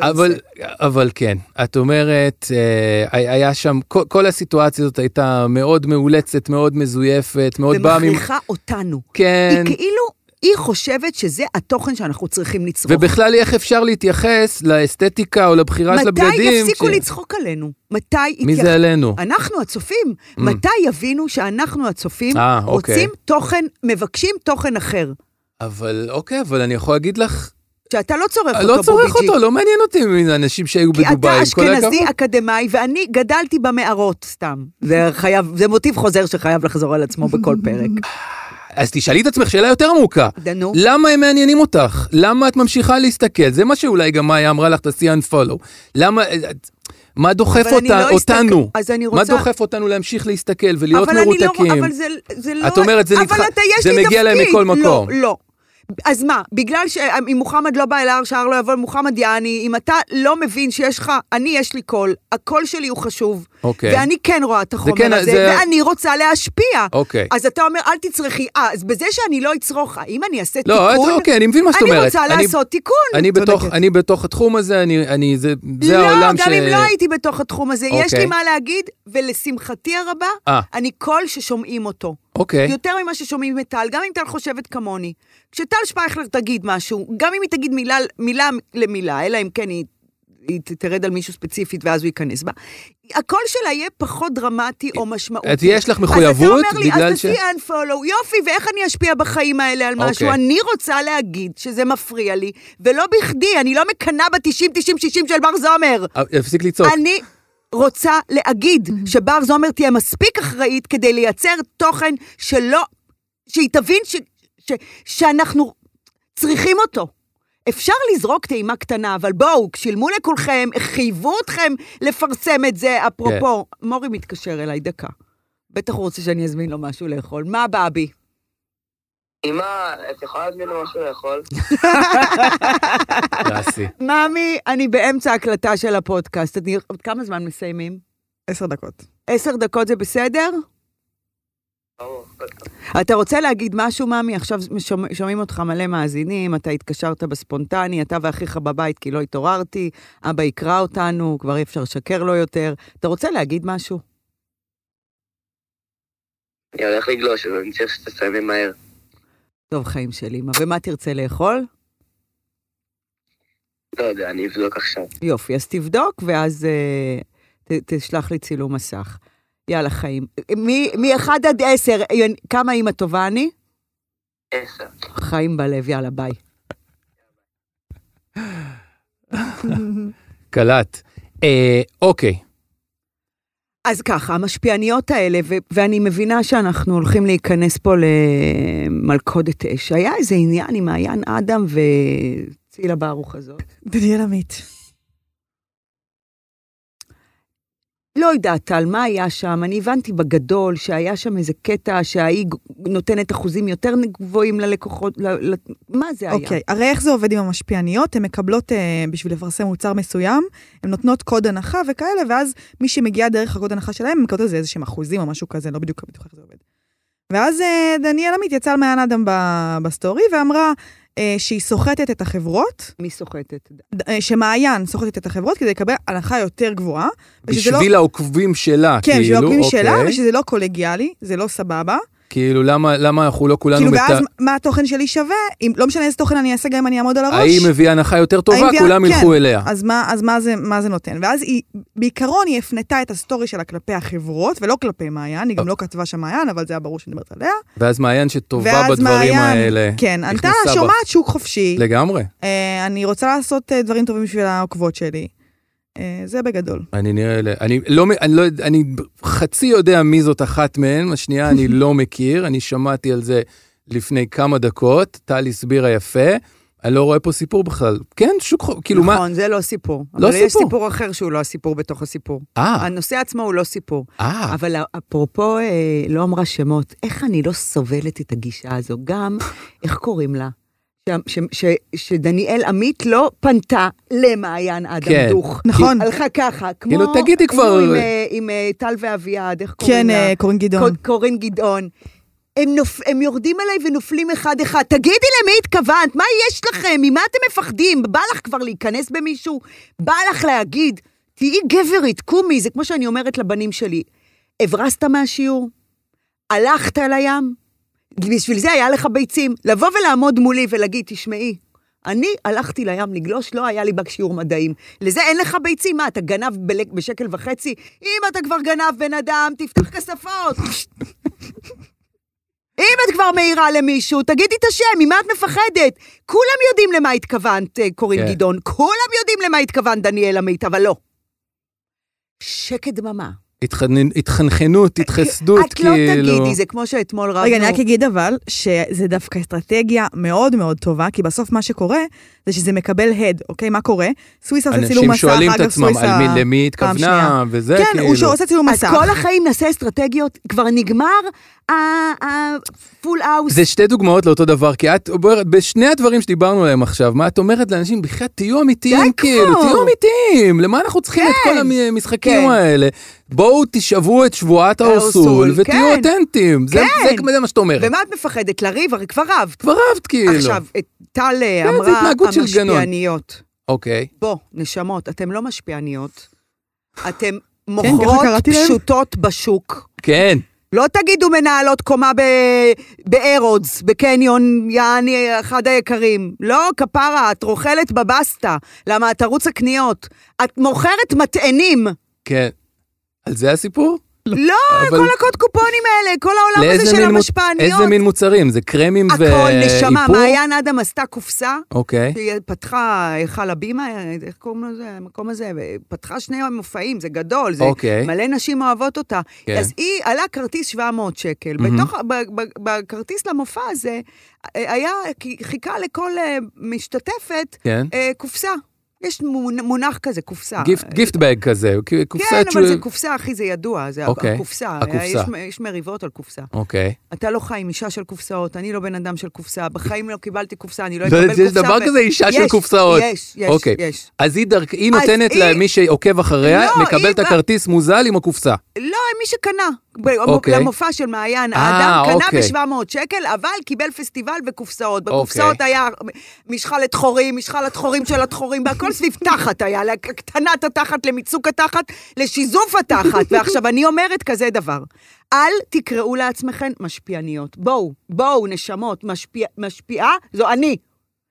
Speaker 3: אבל, אבל כן, את אומרת, אה, היה שם, כל, כל הסיטואציה הזאת הייתה מאוד מאולצת, מאוד מזויפת, מאוד באה ממ...
Speaker 1: ומכריחה אותנו.
Speaker 3: כן.
Speaker 1: היא כאילו, היא חושבת שזה התוכן שאנחנו צריכים לצרוך.
Speaker 3: ובכלל, איך אפשר להתייחס לאסתטיקה או לבחירה של הבגדים?
Speaker 1: מתי יפסיקו
Speaker 3: ש-
Speaker 1: לצחוק עלינו? מתי...
Speaker 3: מי
Speaker 1: יתייח-
Speaker 3: זה עלינו?
Speaker 1: אנחנו הצופים. מתי יבינו שאנחנו הצופים
Speaker 3: אה, אוקיי.
Speaker 1: רוצים תוכן, מבקשים תוכן אחר?
Speaker 3: אבל אוקיי, אבל אני יכול להגיד לך,
Speaker 1: שאתה לא צורך אותו,
Speaker 3: לא צורך
Speaker 1: בוביג'י.
Speaker 3: אותו, לא מעניין אותי מי זה אנשים שהיו
Speaker 1: כי
Speaker 3: בדובאי,
Speaker 1: אתה
Speaker 3: עם כל הכבוד.
Speaker 1: אשכנזי אקדמאי, ואני גדלתי במערות סתם. זה חייב, זה מוטיב חוזר שחייב לחזור על עצמו בכל פרק.
Speaker 3: אז תשאלי את עצמך שאלה יותר עמוקה.
Speaker 1: דנו.
Speaker 3: למה הם מעניינים אותך? למה את ממשיכה להסתכל? זה מה שאולי גם מאיה אמרה לך, תעשי unfollow. למה... את- מה דוחף
Speaker 1: אבל אני
Speaker 3: אותה-
Speaker 1: לא הסתכל-
Speaker 3: אותנו?
Speaker 1: אז אני
Speaker 3: מה
Speaker 1: רוצה-
Speaker 3: דוחף אותנו להמשיך להסתכל ולהיות
Speaker 1: אבל אני
Speaker 3: מרותקים?
Speaker 1: לא, אבל זה, זה לא...
Speaker 3: את אומרת, זה נדחה-
Speaker 1: אבל אתה, יש
Speaker 3: זה
Speaker 1: לי
Speaker 3: מגיע להם
Speaker 1: תפקיד.
Speaker 3: מכל מקום.
Speaker 1: לא, לא. אז מה, בגלל שאם מוחמד לא בא אל ההר, שההר לא יבוא למוחמד, יעני, אם אתה לא מבין שיש לך, אני יש לי קול, הקול שלי הוא חשוב,
Speaker 3: אוקיי.
Speaker 1: ואני כן רואה את החומר
Speaker 3: כן,
Speaker 1: הזה,
Speaker 3: זה-
Speaker 1: ואני רוצה להשפיע.
Speaker 3: אוקיי.
Speaker 1: אז אתה אומר, אל תצרכי, אה, אז בזה שאני לא אצרוך, האם אני אעשה
Speaker 3: לא,
Speaker 1: תיקון?
Speaker 3: את- אוקיי, אני מבין מה שאת אומרת.
Speaker 1: אני רוצה
Speaker 3: אני-
Speaker 1: לעשות תיקון.
Speaker 3: אני בתוך,
Speaker 5: צודקת.
Speaker 3: אני בתוך התחום הזה, אני, אני, זה, זה
Speaker 1: לא,
Speaker 3: העולם
Speaker 1: גם
Speaker 3: ש...
Speaker 1: אם לא הייתי בתוך התחום הזה, יש
Speaker 3: אוקיי.
Speaker 1: לי מה להגיד, ולשמחתי הרבה,
Speaker 3: אה.
Speaker 1: אני קול ששומעים אותו.
Speaker 3: אוקיי,
Speaker 1: יותר ממה ששומעים את טל, גם אם טל חושבת כמוני. כשטל שפייכלר תגיד משהו, גם אם היא תגיד מילה, מילה למילה, אלא אם כן היא, היא ת- תרד על מישהו ספציפית ואז הוא ייכנס בה, הקול שלה יהיה פחות דרמטי או משמעותי.
Speaker 3: את- יש לך מחויבות
Speaker 1: אז אתה אומר לי,
Speaker 3: בגלל
Speaker 1: אז
Speaker 3: ש-
Speaker 1: תעשי unfollow, יופי, ואיך אני אשפיע בחיים האלה על משהו?
Speaker 3: אוקיי.
Speaker 1: אני רוצה להגיד שזה מפריע לי, ולא בכדי, אני לא מקנאה ב-90, 90, 60 של בר זומר.
Speaker 3: אה, תפסיק לצעוק.
Speaker 1: אני רוצה להגיד שבר זומר תהיה מספיק אחראית כדי לייצר תוכן שלא, שהיא תבין ש, ש, שאנחנו צריכים אותו. אפשר לזרוק טעימה קטנה, אבל בואו, שילמו לכולכם, חייבו אתכם לפרסם את זה. אפרופו, מורי מתקשר אליי, דקה. בטח הוא רוצה שאני אזמין לו משהו לאכול. מה, באבי?
Speaker 7: אמא, את יכולה להזמין לו משהו לאכול?
Speaker 3: קלאסי.
Speaker 1: ממי, אני באמצע ההקלטה של הפודקאסט. אני, עוד כמה זמן מסיימים?
Speaker 5: עשר דקות.
Speaker 1: עשר דקות זה בסדר?
Speaker 7: ברור.
Speaker 1: אתה רוצה להגיד משהו, ממי? עכשיו שומע, שומעים אותך מלא מאזינים, אתה התקשרת בספונטני, אתה ואחיך בבית כי לא התעוררתי, אבא יקרא אותנו, כבר אי אפשר לשקר לו יותר. אתה רוצה להגיד משהו?
Speaker 7: אני הולך לגלוש, אז אני צריך שתסיימי מהר.
Speaker 1: טוב, חיים של אמא. ומה תרצה לאכול?
Speaker 7: לא יודע, אני אבדוק עכשיו.
Speaker 1: יופי, אז תבדוק, ואז אה, ת, תשלח לי צילום מסך. יאללה, חיים. מ-1 עד 10, כמה אימא טובה אני?
Speaker 7: עשר.
Speaker 1: חיים בלב, יאללה, ביי.
Speaker 3: קלט. אה, אוקיי,
Speaker 1: אז ככה, המשפיעניות האלה, ו- ואני מבינה שאנחנו הולכים להיכנס פה למלכודת אש. היה איזה עניין עם מעיין אדם וצילה ברוך הזאת.
Speaker 5: דניאל עמית.
Speaker 1: לא יודעת על מה היה שם, אני הבנתי בגדול שהיה שם איזה קטע שההיא ג- נותנת אחוזים יותר גבוהים ללקוחות, ל... ל... מה זה היה?
Speaker 5: אוקיי, הרי איך זה עובד עם המשפיעניות? הן מקבלות, אה, בשביל לפרסם מוצר מסוים, הן נותנות קוד הנחה וכאלה, ואז מי שמגיעה דרך הקוד הנחה שלהם, הן מקבלות על זה איזה שהם אחוזים או משהו כזה, לא בדיוק בטוחה איך זה עובד. ואז אה, דניאל עמית יצאה על מעיין אדם ב- בסטורי ואמרה אה, שהיא סוחטת את החברות,
Speaker 1: מי סוחטת?
Speaker 5: ד- אה, שמעיין סוחטת את החברות כדי לקבל הנחה יותר גבוהה. ושזה לא-
Speaker 3: בשביל העוקבים שלה,
Speaker 5: כן,
Speaker 3: כאילו,
Speaker 5: בשביל העוקבים שלה,
Speaker 3: אוקיי.
Speaker 5: ושזה לא קולגיאלי, זה לא סבבה.
Speaker 3: כאילו, למה למה אנחנו לא כולנו...
Speaker 5: כאילו,
Speaker 3: בת-
Speaker 5: ואז מה התוכן שלי שווה, אם, לא משנה איזה תוכן אני אעשה, גם אם אני אעמוד על הראש.
Speaker 3: האם מביאה הנחה יותר
Speaker 5: האם
Speaker 3: טובה,
Speaker 5: הביאה-
Speaker 3: כולם ילכו
Speaker 5: כן.
Speaker 3: אליה.
Speaker 5: אז מה, אז מה, זה, מה זה נותן? ואז היא, בעיקרון היא הפנתה את הסטורי שלה כלפי החברות, ולא כלפי מעיין, היא גם לא כתבה שם מעיין, אבל זה היה ברור שאני מדברת עליה.
Speaker 3: ואז מעיין שטובה
Speaker 5: ואז
Speaker 3: בדברים
Speaker 5: מעיין,
Speaker 3: האלה.
Speaker 5: כן, ענתה
Speaker 3: נכנסה
Speaker 5: לה,
Speaker 3: בה.
Speaker 5: שומעת שוק חופשי,
Speaker 3: לגמרי.
Speaker 5: אה, אני רוצה לעשות אה, דברים טובים בשביל העוקבות שלי. אה, זה בגדול.
Speaker 3: אני נראה, ל- אני לא, מ- אני לא, יודע- אני חצי יודע מי זאת אחת מהן, השנייה אני לא מכיר, אני שמעתי על זה לפני כמה דקות, טל הסבירה יפה, אני לא רואה פה סיפור בכלל. כן, שוק חופשי, כאילו מה,
Speaker 1: נכון, זה לא סיפור.
Speaker 3: לא
Speaker 1: אבל יש
Speaker 3: סיפור.
Speaker 1: סיפור אחר שהוא לא הסיפור בתוך הסיפור.
Speaker 3: אה,
Speaker 1: הנושא עצמו הוא לא סיפור.
Speaker 3: אה,
Speaker 1: אבל אפרופו אה, לא אמרה שמות, איך אני לא סובלת את הגישה הזו? גם, איך קוראים לה? ש, ש, ש, שדניאל עמית לא פנתה למעיין אדם
Speaker 3: כן.
Speaker 1: דוך.
Speaker 5: נכון.
Speaker 1: הלכה ככה, כמו...
Speaker 3: כאילו, תגידי כבר-
Speaker 1: היינו עם, אה, עם אה, טל ואביעד, איך קוראים
Speaker 5: כן,
Speaker 1: לה?
Speaker 5: אה, קורין גדעון.
Speaker 1: קוד- קורין גדעון. הם, נופ... הם יורדים עליי ונופלים אחד-אחד. תגידי למי התכוונת, מה יש לכם? ממה אתם מפחדים? בא לך כבר להיכנס במישהו? בא לך להגיד, תהיי גברית, קומי, זה כמו שאני אומרת לבנים שלי. הברזת מהשיעור? הלכת אל הים? בשביל זה היה לך ביצים. לבוא ולעמוד מולי ולהגיד, תשמעי, אני הלכתי לים לגלוש, לא היה לי בק שיעור מדעים. לזה אין לך ביצים, מה, אתה גנב בלק, בשקל וחצי? אם אתה כבר גנב בן אדם, תפתח כספות. אם את כבר מעירה למישהו, תגידי את השם, ממה את מפחדת? כולם יודעים למה התכוונת, אה, קורין
Speaker 3: כן.
Speaker 1: גדעון. כולם יודעים למה התכוונת, דניאל עמית, אבל לא. שקט דממה.
Speaker 3: התחננ- התחנחנות,
Speaker 5: אה,
Speaker 3: התחסדות,
Speaker 1: את לא
Speaker 3: כאילו.
Speaker 1: תגידי, זה כמו שאתמול רבנו.
Speaker 5: רגע, אני רק אגיד אבל, שזה דווקא אסטרטגיה מאוד מאוד טובה, כי בסוף מה שקורה, זה שזה מקבל הד, אוקיי? מה קורה? סוויסה עושה
Speaker 3: אנשים
Speaker 5: צילום מסך,
Speaker 3: שואלים את
Speaker 5: אגב,
Speaker 3: עצמם,
Speaker 5: סוויסה
Speaker 3: על מי, למי היא
Speaker 5: פעם שנייה.
Speaker 3: התכוונה, וזה
Speaker 5: כן,
Speaker 3: כאילו.
Speaker 5: הוא שעושה צילום
Speaker 1: אז
Speaker 5: מסך.
Speaker 1: כל החיים נעשה אסטרטגיות, כבר נגמר הפול אאוס.
Speaker 3: זה שתי דוגמאות לאותו דבר, כי את אומרת, בשני הדברים שדיברנו עליהם עכשיו, מה את אומרת לאנשים, בחייאת תהיו אמיתיים,
Speaker 1: די
Speaker 3: כאילו,
Speaker 1: כבר.
Speaker 3: תהיו אמיתיים, למה אנחנו צריכים את כל המשחקים
Speaker 1: כן.
Speaker 3: האלה? בואו תשאבו את שבועת האורסול
Speaker 1: האורסול,
Speaker 3: ותהיו
Speaker 1: כן.
Speaker 3: אותנטיים, זה
Speaker 1: כן.
Speaker 3: זה מה שאת אומרת.
Speaker 1: ומה את מפחדת? לריב? הרי כבר רבת.
Speaker 3: כבר אהבת כאילו.
Speaker 1: עכשיו, את טל אה,
Speaker 3: כן, זה
Speaker 1: אמרה,
Speaker 3: התנהגות של גנון.
Speaker 1: המשפיעניות.
Speaker 3: אוקיי,
Speaker 1: בוא, נשמות, אתם לא משפיעניות. אתם
Speaker 5: כן, ככה
Speaker 1: מוכרות
Speaker 5: קראתי להם.
Speaker 1: פשוטות בשוק.
Speaker 3: כן,
Speaker 1: לא תגידו מנהלות קומה ב- בארודס, בקניון, יעני, אחד היקרים. לא, כפרה, את רוכלת בבסטה. למה? את ערוץ הקניות. את מוכרת מטענים.
Speaker 3: כן. על זה הסיפור?
Speaker 1: לא,
Speaker 3: אבל-
Speaker 1: כל הקוד קופונים האלה, כל העולם הזה
Speaker 3: לאיזה
Speaker 1: של
Speaker 3: מין מוצ-
Speaker 1: המשפעניות.
Speaker 3: איזה מין מוצרים? זה קרמים
Speaker 1: הכל,
Speaker 3: ואיפור?
Speaker 1: נשמה, מעיין אדם עשתה קופסה.
Speaker 3: אוקיי.
Speaker 1: שהיא פתחה היכל הבימה, איך קוראים לזה, המקום הזה, פתחה שני מופעים, זה גדול, זה
Speaker 3: אוקיי.
Speaker 1: מלא נשים אוהבות אותה.
Speaker 3: כן.
Speaker 1: אז היא, עלה כרטיס 700 שקל. בתוך, ב- ב- בכרטיס למופע הזה, אה, היה, חיכה לכל אה, משתתפת
Speaker 3: כן.
Speaker 1: אה, קופסה. יש מונ- מונח כזה, קופסה.
Speaker 3: גיפט בג כזה, כאילו, קופסת...
Speaker 1: כן, אבל
Speaker 3: שהוא-
Speaker 1: זה קופסה, אחי, זה ידוע, זה
Speaker 3: אוקיי,
Speaker 1: הקופסה.
Speaker 3: הקופסה.
Speaker 1: יש, יש מריבות על קופסה.
Speaker 3: אוקיי.
Speaker 1: אתה לא חי עם אישה של קופסאות, אני לא בן אדם של קופסה, בחיים לא קיבלתי קופסה, אני לא
Speaker 3: לא
Speaker 1: אקבל
Speaker 3: יודעת,
Speaker 1: קופסה.
Speaker 3: יש דבר
Speaker 1: ו-
Speaker 3: כזה אישה של
Speaker 1: יש,
Speaker 3: קופסאות.
Speaker 1: יש, יש,
Speaker 3: אוקיי.
Speaker 1: יש.
Speaker 3: אז היא דרכ... היא
Speaker 1: אז
Speaker 3: נותנת
Speaker 1: היא-
Speaker 3: למי שעוקב אחריה,
Speaker 1: לא,
Speaker 3: מקבל
Speaker 1: היא
Speaker 3: את
Speaker 1: בא-
Speaker 3: הכרטיס מוזל עם הקופסה.
Speaker 1: לא, מי שקנה. ב-
Speaker 3: אוקיי.
Speaker 1: למופע של מעיין
Speaker 3: אה,
Speaker 1: האדם, קנה
Speaker 3: אוקיי.
Speaker 1: ב-700 שקל, אבל קיבל פסטיבל בקופסאות. בקופסאות היה משחלת חורים, משחלת חורים של התחורים, והכל סביב תחת היה, להקטנת התחת, למיצוק התחת, לשיזוף התחת. ועכשיו, אני אומרת כזה דבר. אל תקראו לעצמכן משפיעניות. בואו, בואו, נשמות, משפיע, משפיעה זו אני.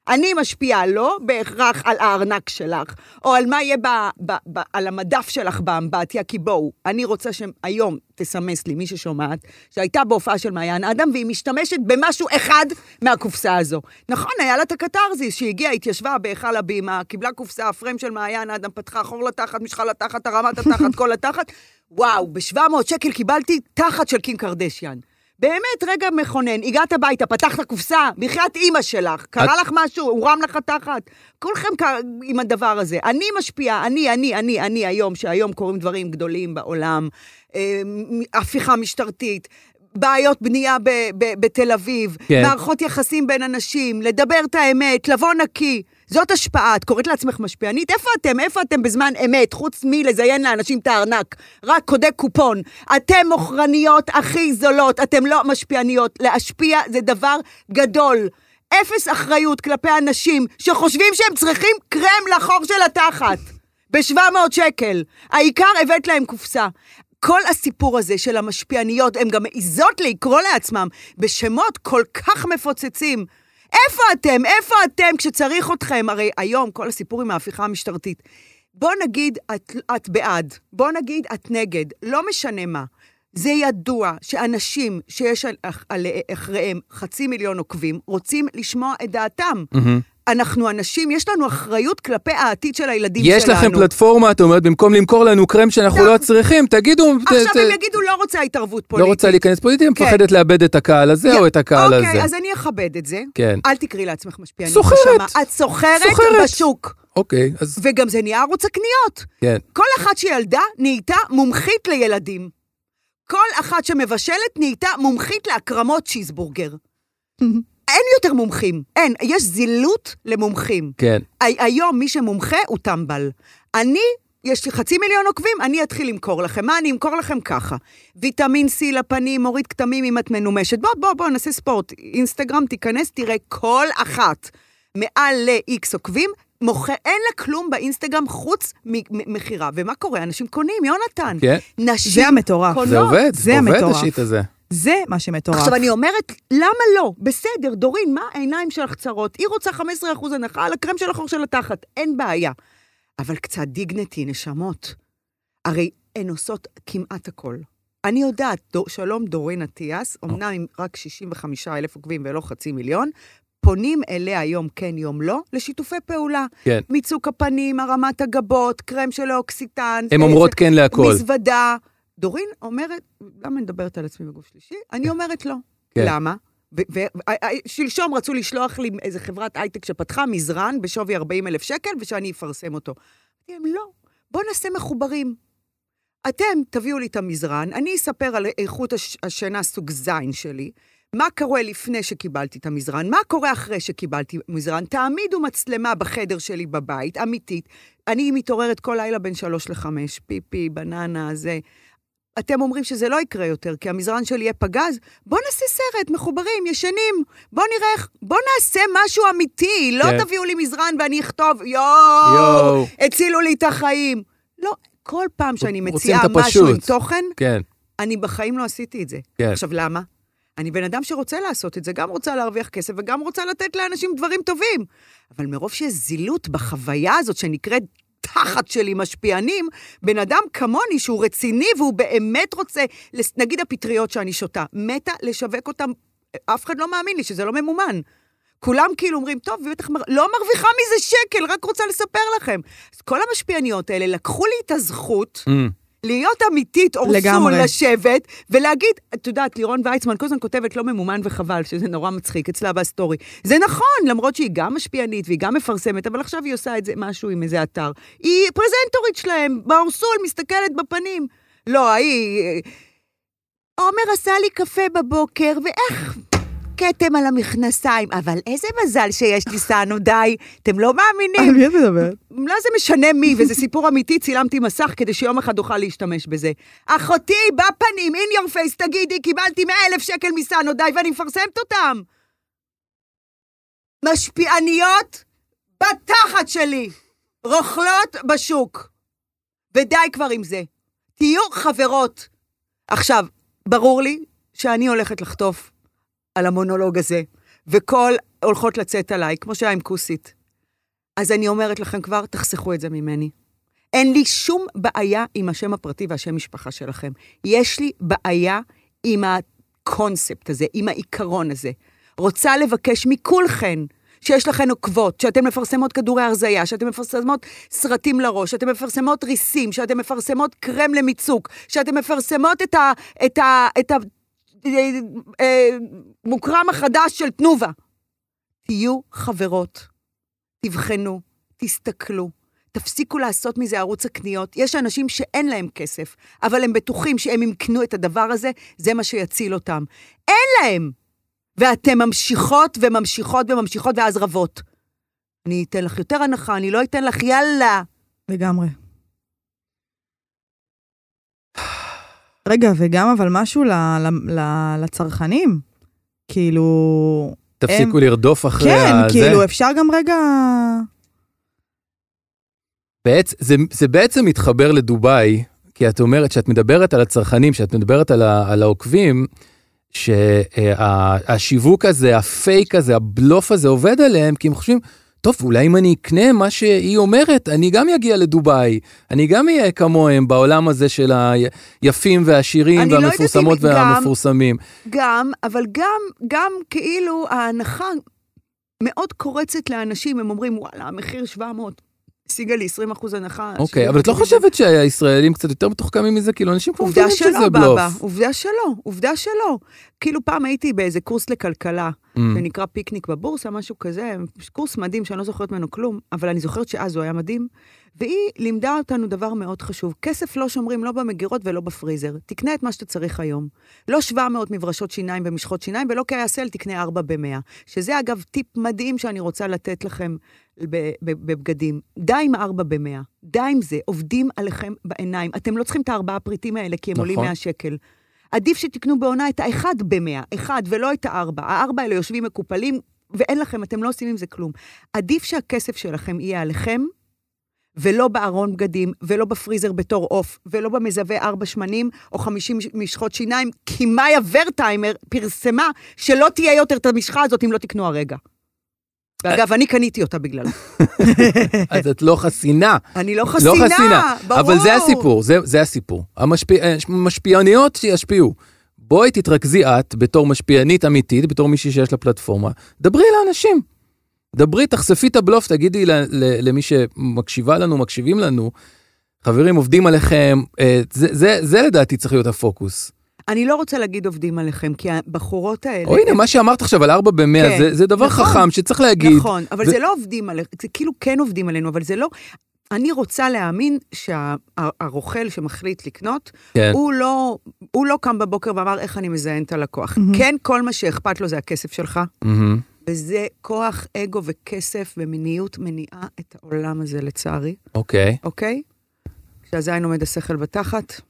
Speaker 1: אני משפיעה לא בהכרח על הארנק שלך, או על מה יהיה ב, ב, ב, על המדף שלך באמבטיה, כי בואו, אני רוצה שהיום תסמס לי מי ששומעת, שהייתה בהופעה של מעיין אדם, והיא משתמשת במשהו אחד מהקופסה הזו. נכון, היה לה את הקתרזיס, שהיא הגיעה, התיישבה בהיכל הבימה, קיבלה קופסה, הפריים של מעיין אדם, פתחה חור לתחת, משחה לתחת, הרמת התחת, כל התחת. וואו, ב-700 שקל קיבלתי תחת של קים קרדשיאן. באמת, רגע מכונן, הגעת הביתה, פתחת קופסה, בחייאת אימא שלך, קרה לך משהו, הורם לך תחת. כולכם קר- עם הדבר הזה. אני משפיעה, אני, אני, אני, אני היום, שהיום קורים דברים גדולים בעולם, אה, מ- הפיכה משטרתית. בעיות בנייה ב- ב- בתל אביב,
Speaker 3: כן.
Speaker 1: כן. מערכות יחסים בין אנשים, לדבר את האמת, לבוא נקי. זאת השפעה, את קוראת לעצמך משפיענית? איפה אתם? איפה אתם בזמן אמת? חוץ מלזיין לאנשים את הארנק. רק קודק קופון. אתם מוכרניות הכי זולות, אתם לא משפיעניות. להשפיע זה דבר גדול. אפס אחריות כלפי אנשים שחושבים שהם צריכים קרם לחור של התחת. ב-700 שקל. העיקר הבאת להם קופסה. כל הסיפור הזה של המשפיעניות, הן גם מעיזות לקרוא לעצמם בשמות כל כך מפוצצים. איפה אתם? איפה אתם כשצריך אתכם? הרי היום כל הסיפור עם ההפיכה המשטרתית. בוא נגיד את, את בעד, בוא נגיד את נגד, לא משנה מה. זה ידוע שאנשים שיש על- על- אחריהם חצי מיליון עוקבים, רוצים לשמוע את דעתם. אנחנו אנשים, יש לנו אחריות כלפי העתיד של הילדים
Speaker 3: יש
Speaker 1: שלנו.
Speaker 3: לכם פלטפורמה, את אומרת, במקום למכור לנו קרם שאנחנו לא צריכים, תגידו... ת- ת-
Speaker 1: עכשיו הם יגידו, לא רוצה התערבות
Speaker 3: לא
Speaker 1: פוליטית.
Speaker 3: רוצה להיכנס פוליטית,
Speaker 1: כן.
Speaker 3: מפחדת לאבד את הקהל הזה או את הקהל הזה.
Speaker 1: אוקיי, אז אני אכבד את זה.
Speaker 3: כן.
Speaker 1: אל תקראי לעצמך משפיענית.
Speaker 3: סוחרת.
Speaker 1: נשמה. את סוחרת,
Speaker 3: סוחרת.
Speaker 1: בשוק.
Speaker 3: אוקיי, אז
Speaker 1: וגם זה נהיה ערוץ הקניות.
Speaker 3: כן.
Speaker 1: כל אחת שילדה נהייתה מומחית לילדים. כל אחת שמבשלת נהייתה מומחית להקרמות צ'יזבורגר. אין יותר מומחים, אין. יש זילות למומחים.
Speaker 3: כן.
Speaker 1: הי- היום מי שמומחה הוא טמבל. אני, יש לי חצי מיליון עוקבים, אני אתחיל למכור לכם. מה אני אמכור לכם? ככה. ויטמין C לפנים, מוריד כתמים אם את מנומשת. בוא, בוא, בוא, נעשה ספורט. אינסטגרם, תיכנס, תראה כל אחת מעל ל-X עוקבים. מוכר, אין לה כלום באינסטגרם חוץ ממכירה. ומה קורה? אנשים קונים, יונתן.
Speaker 3: כן.
Speaker 1: נשים
Speaker 5: זה המטורף. לא,
Speaker 1: קונות.
Speaker 3: זה עובד,
Speaker 5: זה
Speaker 3: עובד
Speaker 5: המטורף.
Speaker 3: השיט הזה.
Speaker 5: זה מה שמטורף.
Speaker 1: עכשיו, אני אומרת, למה לא? בסדר, דורין, מה העיניים שלך צרות? היא רוצה 15% הנחה על הקרם של החור של התחת, אין בעיה. אבל קצת דיגנטי, נשמות. הרי הן עושות כמעט הכל. אני יודעת, דו, שלום דורין אטיאס, אמנם עם רק 65 אלף עוקבים ולא חצי מיליון, פונים אליה יום כן, יום לא, לשיתופי פעולה.
Speaker 3: כן.
Speaker 1: מיצוק הפנים, הרמת הגבות, קרם של האוקסיטן.
Speaker 3: הן
Speaker 1: אה,
Speaker 3: אומרות
Speaker 1: זה-
Speaker 3: כן להכל.
Speaker 1: מזוודה. דורין אומרת, למה אני מדברת על עצמי בגוף שלישי? אני אומרת לא.
Speaker 3: כן.
Speaker 1: למה? ושלשום רצו לשלוח לי איזה חברת הייטק שפתחה מזרן בשווי 40 אלף שקל, ושאני אפרסם אותו. אמרתי להם, לא, בואו נעשה מחוברים. אתם תביאו לי את המזרן, אני אספר על איכות הש- השינה סוג זין שלי, מה קורה לפני שקיבלתי את המזרן, מה קורה אחרי שקיבלתי מזרן. תעמידו מצלמה בחדר שלי בבית, אמיתית. אני מתעוררת כל לילה בין שלוש לחמש, פיפי, בננה, זה. אתם אומרים שזה לא יקרה יותר, כי המזרן שלי יהיה פגז, בואו נעשה סרט, מחוברים, ישנים, בואו נראה איך, בואו נעשה משהו אמיתי, לא
Speaker 3: כן.
Speaker 1: תביאו לי מזרן ואני אכתוב, יואו,
Speaker 3: יואו.
Speaker 1: הצילו לי את החיים. לא, כל פעם שאני
Speaker 3: רוצים
Speaker 1: מציעה
Speaker 3: את
Speaker 1: משהו עם
Speaker 3: הפשוט.
Speaker 1: תוכן,
Speaker 3: כן.
Speaker 1: אני בחיים לא עשיתי את זה.
Speaker 3: כן.
Speaker 1: עכשיו, למה? אני בן אדם שרוצה לעשות את זה, גם רוצה להרוויח כסף וגם רוצה לתת לאנשים דברים טובים. אבל מרוב שיש זילות בחוויה הזאת שנקראת תחת שלי משפיענים, בן אדם כמוני שהוא רציני והוא באמת רוצה, לס- נגיד הפטריות שאני שותה, מתה לשווק אותן, אף אחד לא מאמין לי שזה לא ממומן. כולם כאילו אומרים, טוב, היא בטח מר... לא מרוויחה מזה שקל, רק רוצה לספר לכם. אז כל המשפיעניות האלה לקחו לי את הזכות
Speaker 3: אמ,
Speaker 1: להיות אמיתית, אורסול,
Speaker 5: לגמרי.
Speaker 1: לשבת, ולהגיד, את יודעת, לירון ויצמן כל הזמן כותבת לא ממומן וחבל, שזה נורא מצחיק אצלה בסטורי. זה נכון, למרות שהיא גם משפיענית והיא גם מפרסמת, אבל עכשיו היא עושה את זה משהו עם איזה אתר. היא פרזנטורית שלהם, באורסול, מסתכלת בפנים. לא, ההיא... אה, עומר עשה לי קפה בבוקר, ואיך... כתם על המכנסיים, אבל איזה מזל שיש לי סנו, די, אתם לא מאמינים.
Speaker 5: על מי את מדברת?
Speaker 1: לא זה משנה מי, וזה סיפור אמיתי, צילמתי מסך כדי שיום אחד אוכל להשתמש בזה. אחותי, בפנים, in your face, תגידי, קיבלתי 100 אלף שקל מסנו, די, ואני מפרסמת אותם. משפיעניות בתחת שלי, רוכלות בשוק. ודי כבר עם זה. תהיו חברות. עכשיו, ברור לי שאני הולכת לחטוף על המונולוג הזה, וכל הולכות לצאת עליי, כמו שהיה עם כוסית. אז אני אומרת לכם כבר, תחסכו את זה ממני. אין לי שום בעיה עם השם הפרטי והשם משפחה שלכם. יש לי בעיה עם הקונספט הזה, עם העיקרון הזה. רוצה לבקש מכולכן שיש לכן עוקבות, שאתן מפרסמות כדורי הרזייה, שאתן מפרסמות סרטים לראש, שאתן מפרסמות ריסים, שאתן מפרסמות קרם למיצוק, שאתן מפרסמות את ה... את ה... את ה אה, אה, מוקרם החדש של תנובה. תהיו חברות, תבחנו, תסתכלו, תפסיקו לעשות מזה ערוץ הקניות. יש אנשים שאין להם כסף, אבל הם בטוחים שהם אם קנו את הדבר הזה, זה מה שיציל אותם. אין להם! ואתן ממשיכות וממשיכות וממשיכות ואז רבות. אני אתן לך יותר הנחה, אני לא אתן לך, יאללה.
Speaker 5: לגמרי. רגע, וגם אבל משהו ל, ל, ל, לצרכנים. כאילו,
Speaker 3: תפסיקו
Speaker 5: הם-
Speaker 3: לרדוף אחרי
Speaker 5: כן,
Speaker 3: הזה.
Speaker 5: כאילו, אפשר גם רגע...
Speaker 3: בעצ... זה, זה בעצם מתחבר לדובאי, כי את אומרת שאת מדברת על הצרכנים, שאת מדברת על, ה, על העוקבים, שהשיווק הזה, הפייק הזה, הבלוף הזה עובד עליהם, כי הם חושבים, טוב, אולי אם אני אקנה מה שהיא אומרת, אני גם אגיע לדובאי, אני גם אהיה כמוהם בעולם הזה של היפים והעשירים
Speaker 1: אני לא יודעת אם
Speaker 3: והמפורסמות
Speaker 1: גם-
Speaker 3: והמפורסמים.
Speaker 1: גם, אבל גם, גם כאילו ההנחה מאוד קורצת לאנשים, הם אומרים, וואלה, המחיר 700. השיגה לי 20 אחוז הנחה.
Speaker 3: אוקיי, אבל את לא
Speaker 1: 70%.
Speaker 3: חושבת שהישראלים קצת יותר מתוחכמים מזה? כאילו, אנשים כבר
Speaker 1: עובדה
Speaker 3: מבינים שזה
Speaker 1: שלא,
Speaker 3: בלוף.
Speaker 1: בבא, עובדה שלא, עובדה שלא. כאילו פעם הייתי באיזה קורס לכלכלה,
Speaker 3: Mm.
Speaker 1: שנקרא פיקניק בבורסה, משהו כזה, קורס מדהים שאני לא זוכרת ממנו כלום, אבל אני זוכרת שאז הוא היה מדהים, והיא לימדה אותנו דבר מאוד חשוב. כסף לא שומרים לא במגירות ולא בפריזר. תקנה את מה שאתה צריך היום. לא 700 מברשות שיניים ומשחות שיניים, ולא קייסל תקנה 4 ב-100. שזה אגב טיפ מדהים שאני רוצה לתת לכם ב- ב- בבגדים. די עם 4 ב-100. די עם זה, עובדים עליכם בעיניים. אתם לא צריכים את הארבעה פריטים האלה, כי הם עולים
Speaker 3: נכון.
Speaker 1: 100 שקל. עדיף שתקנו בעונה את האחד במאה, אחד ולא את הארבע. הארבע האלה יושבים מקופלים, ואין לכם, אתם לא עושים עם זה כלום. עדיף שהכסף שלכם יהיה עליכם, ולא בארון בגדים, ולא בפריזר בתור עוף, ולא במזווה ארבע שמנים, או חמישים משחות שיניים, כי מאיה ורטהיימר פרסמה שלא תהיה יותר את המשחה הזאת אם לא תקנו הרגע. ואגב, אני קניתי אותה בגללה.
Speaker 3: אז את לא חסינה.
Speaker 1: אני לא חסינה, ברור.
Speaker 3: לא חסינה, אבל זה הסיפור, זה, זה הסיפור. המשפיע, משפיעניות שישפיעו. בואי תתרכזי את, בתור משפיענית אמיתית, בתור מישהי שיש לה פלטפורמה, דברי לאנשים. דברי, תחשפי את הבלוף, תגידי ל, ל, למי שמקשיבה לנו, מקשיבים לנו, חברים, עובדים עליכם, אה, זה, זה, זה לדעתי צריך להיות הפוקוס.
Speaker 1: אני לא רוצה להגיד עובדים עליכם, כי הבחורות האלה...
Speaker 3: או הנה, מה שאמרת עכשיו על 4 ב-100,
Speaker 1: אה, כן,
Speaker 3: זה, זה דבר
Speaker 1: נכון.
Speaker 3: חכם שצריך להגיד.
Speaker 1: נכון, אבל
Speaker 3: ו-
Speaker 1: זה לא עובדים עלינו, זה כאילו כן עובדים עלינו, אבל זה לא... אני רוצה להאמין שהרוכל שמחליט לקנות,
Speaker 3: כן.
Speaker 1: הוא לא, הוא לא קם בבוקר ואמר, איך אני מזיין את הלקוח.
Speaker 5: מהמם.
Speaker 1: כן, כל מה שאכפת לו זה הכסף שלך,
Speaker 3: מהמם.
Speaker 1: וזה כוח אגו וכסף ומיניות מניעה את העולם הזה, לצערי,
Speaker 3: אוקיי.
Speaker 1: אוקיי? כשהזין עומד השכל בתחת.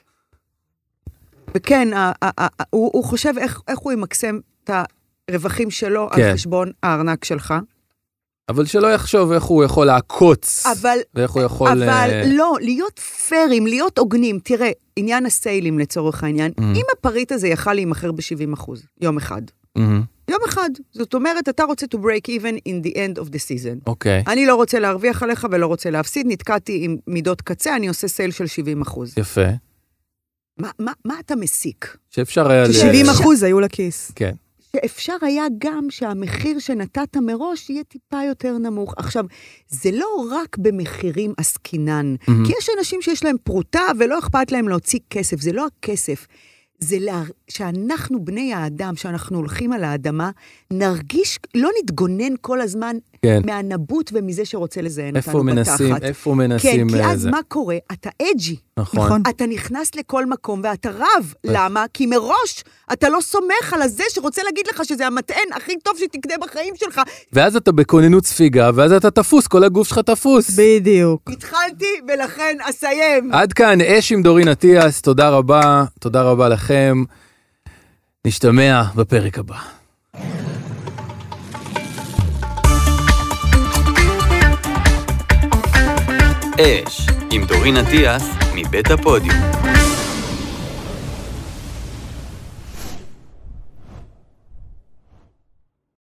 Speaker 1: וכן, ה- ה- ה- הוא, הוא חושב איך, איך הוא ימקסם את הרווחים שלו
Speaker 3: כן.
Speaker 1: על חשבון הארנק שלך.
Speaker 3: אבל שלא יחשוב איך הוא יכול לעקוץ,
Speaker 1: אבל
Speaker 3: ואיך הוא יכול...
Speaker 1: אבל
Speaker 3: אה,
Speaker 1: לא, להיות פיירים, להיות הוגנים. תראה, עניין הסיילים לצורך העניין,
Speaker 3: Mm.
Speaker 1: אם הפריט הזה יכל להימכר ב-70 אחוז, יום אחד.
Speaker 3: מהמם.
Speaker 1: יום אחד. זאת אומרת, אתה רוצה to break even in the end of the season.
Speaker 3: אוקיי,
Speaker 1: אני לא רוצה להרוויח עליך ולא רוצה להפסיד, נתקעתי עם מידות קצה, אני עושה סייל של 70 אחוז.
Speaker 3: יפה.
Speaker 1: מה, מה, מה אתה מסיק?
Speaker 3: שאפשר היה... ל-
Speaker 5: 70 אחוז היו לכיס.
Speaker 3: כן.
Speaker 1: שאפשר היה גם שהמחיר שנתת מראש יהיה טיפה יותר נמוך. עכשיו, זה לא רק במחירים עסקינן,
Speaker 3: מהמם.
Speaker 1: כי יש אנשים שיש להם פרוטה ולא אכפת להם להוציא כסף, זה לא הכסף. זה לה... שאנחנו בני האדם, שאנחנו הולכים על האדמה, נרגיש, לא נתגונן כל הזמן
Speaker 3: כן.
Speaker 1: מהנבוט ומזה שרוצה לזיין
Speaker 3: איפה
Speaker 1: אותנו
Speaker 3: מנסים,
Speaker 1: בתחת.
Speaker 3: איפה
Speaker 1: כן,
Speaker 3: מנסים...
Speaker 1: כי
Speaker 3: אה,
Speaker 1: אז
Speaker 3: זה.
Speaker 1: מה קורה? אתה אג'י.
Speaker 3: נכון.
Speaker 5: נכון.
Speaker 1: אתה נכנס לכל מקום ואתה רב. למה? כי מראש אתה לא סומך על הזה שרוצה להגיד לך שזה המטען הכי טוב שתקנה בחיים שלך.
Speaker 3: ואז אתה בכוננות ספיגה, ואז אתה תפוס, כל הגוף שלך תפוס.
Speaker 5: בדיוק.
Speaker 1: התחלתי ולכן אסיים.
Speaker 3: עד כאן אש עם דורין אטיאס, תודה רבה, תודה רבה לכם. נשתמע בפרק הבא.
Speaker 2: אש, עם דורין אטיאס, מבית הפודיום.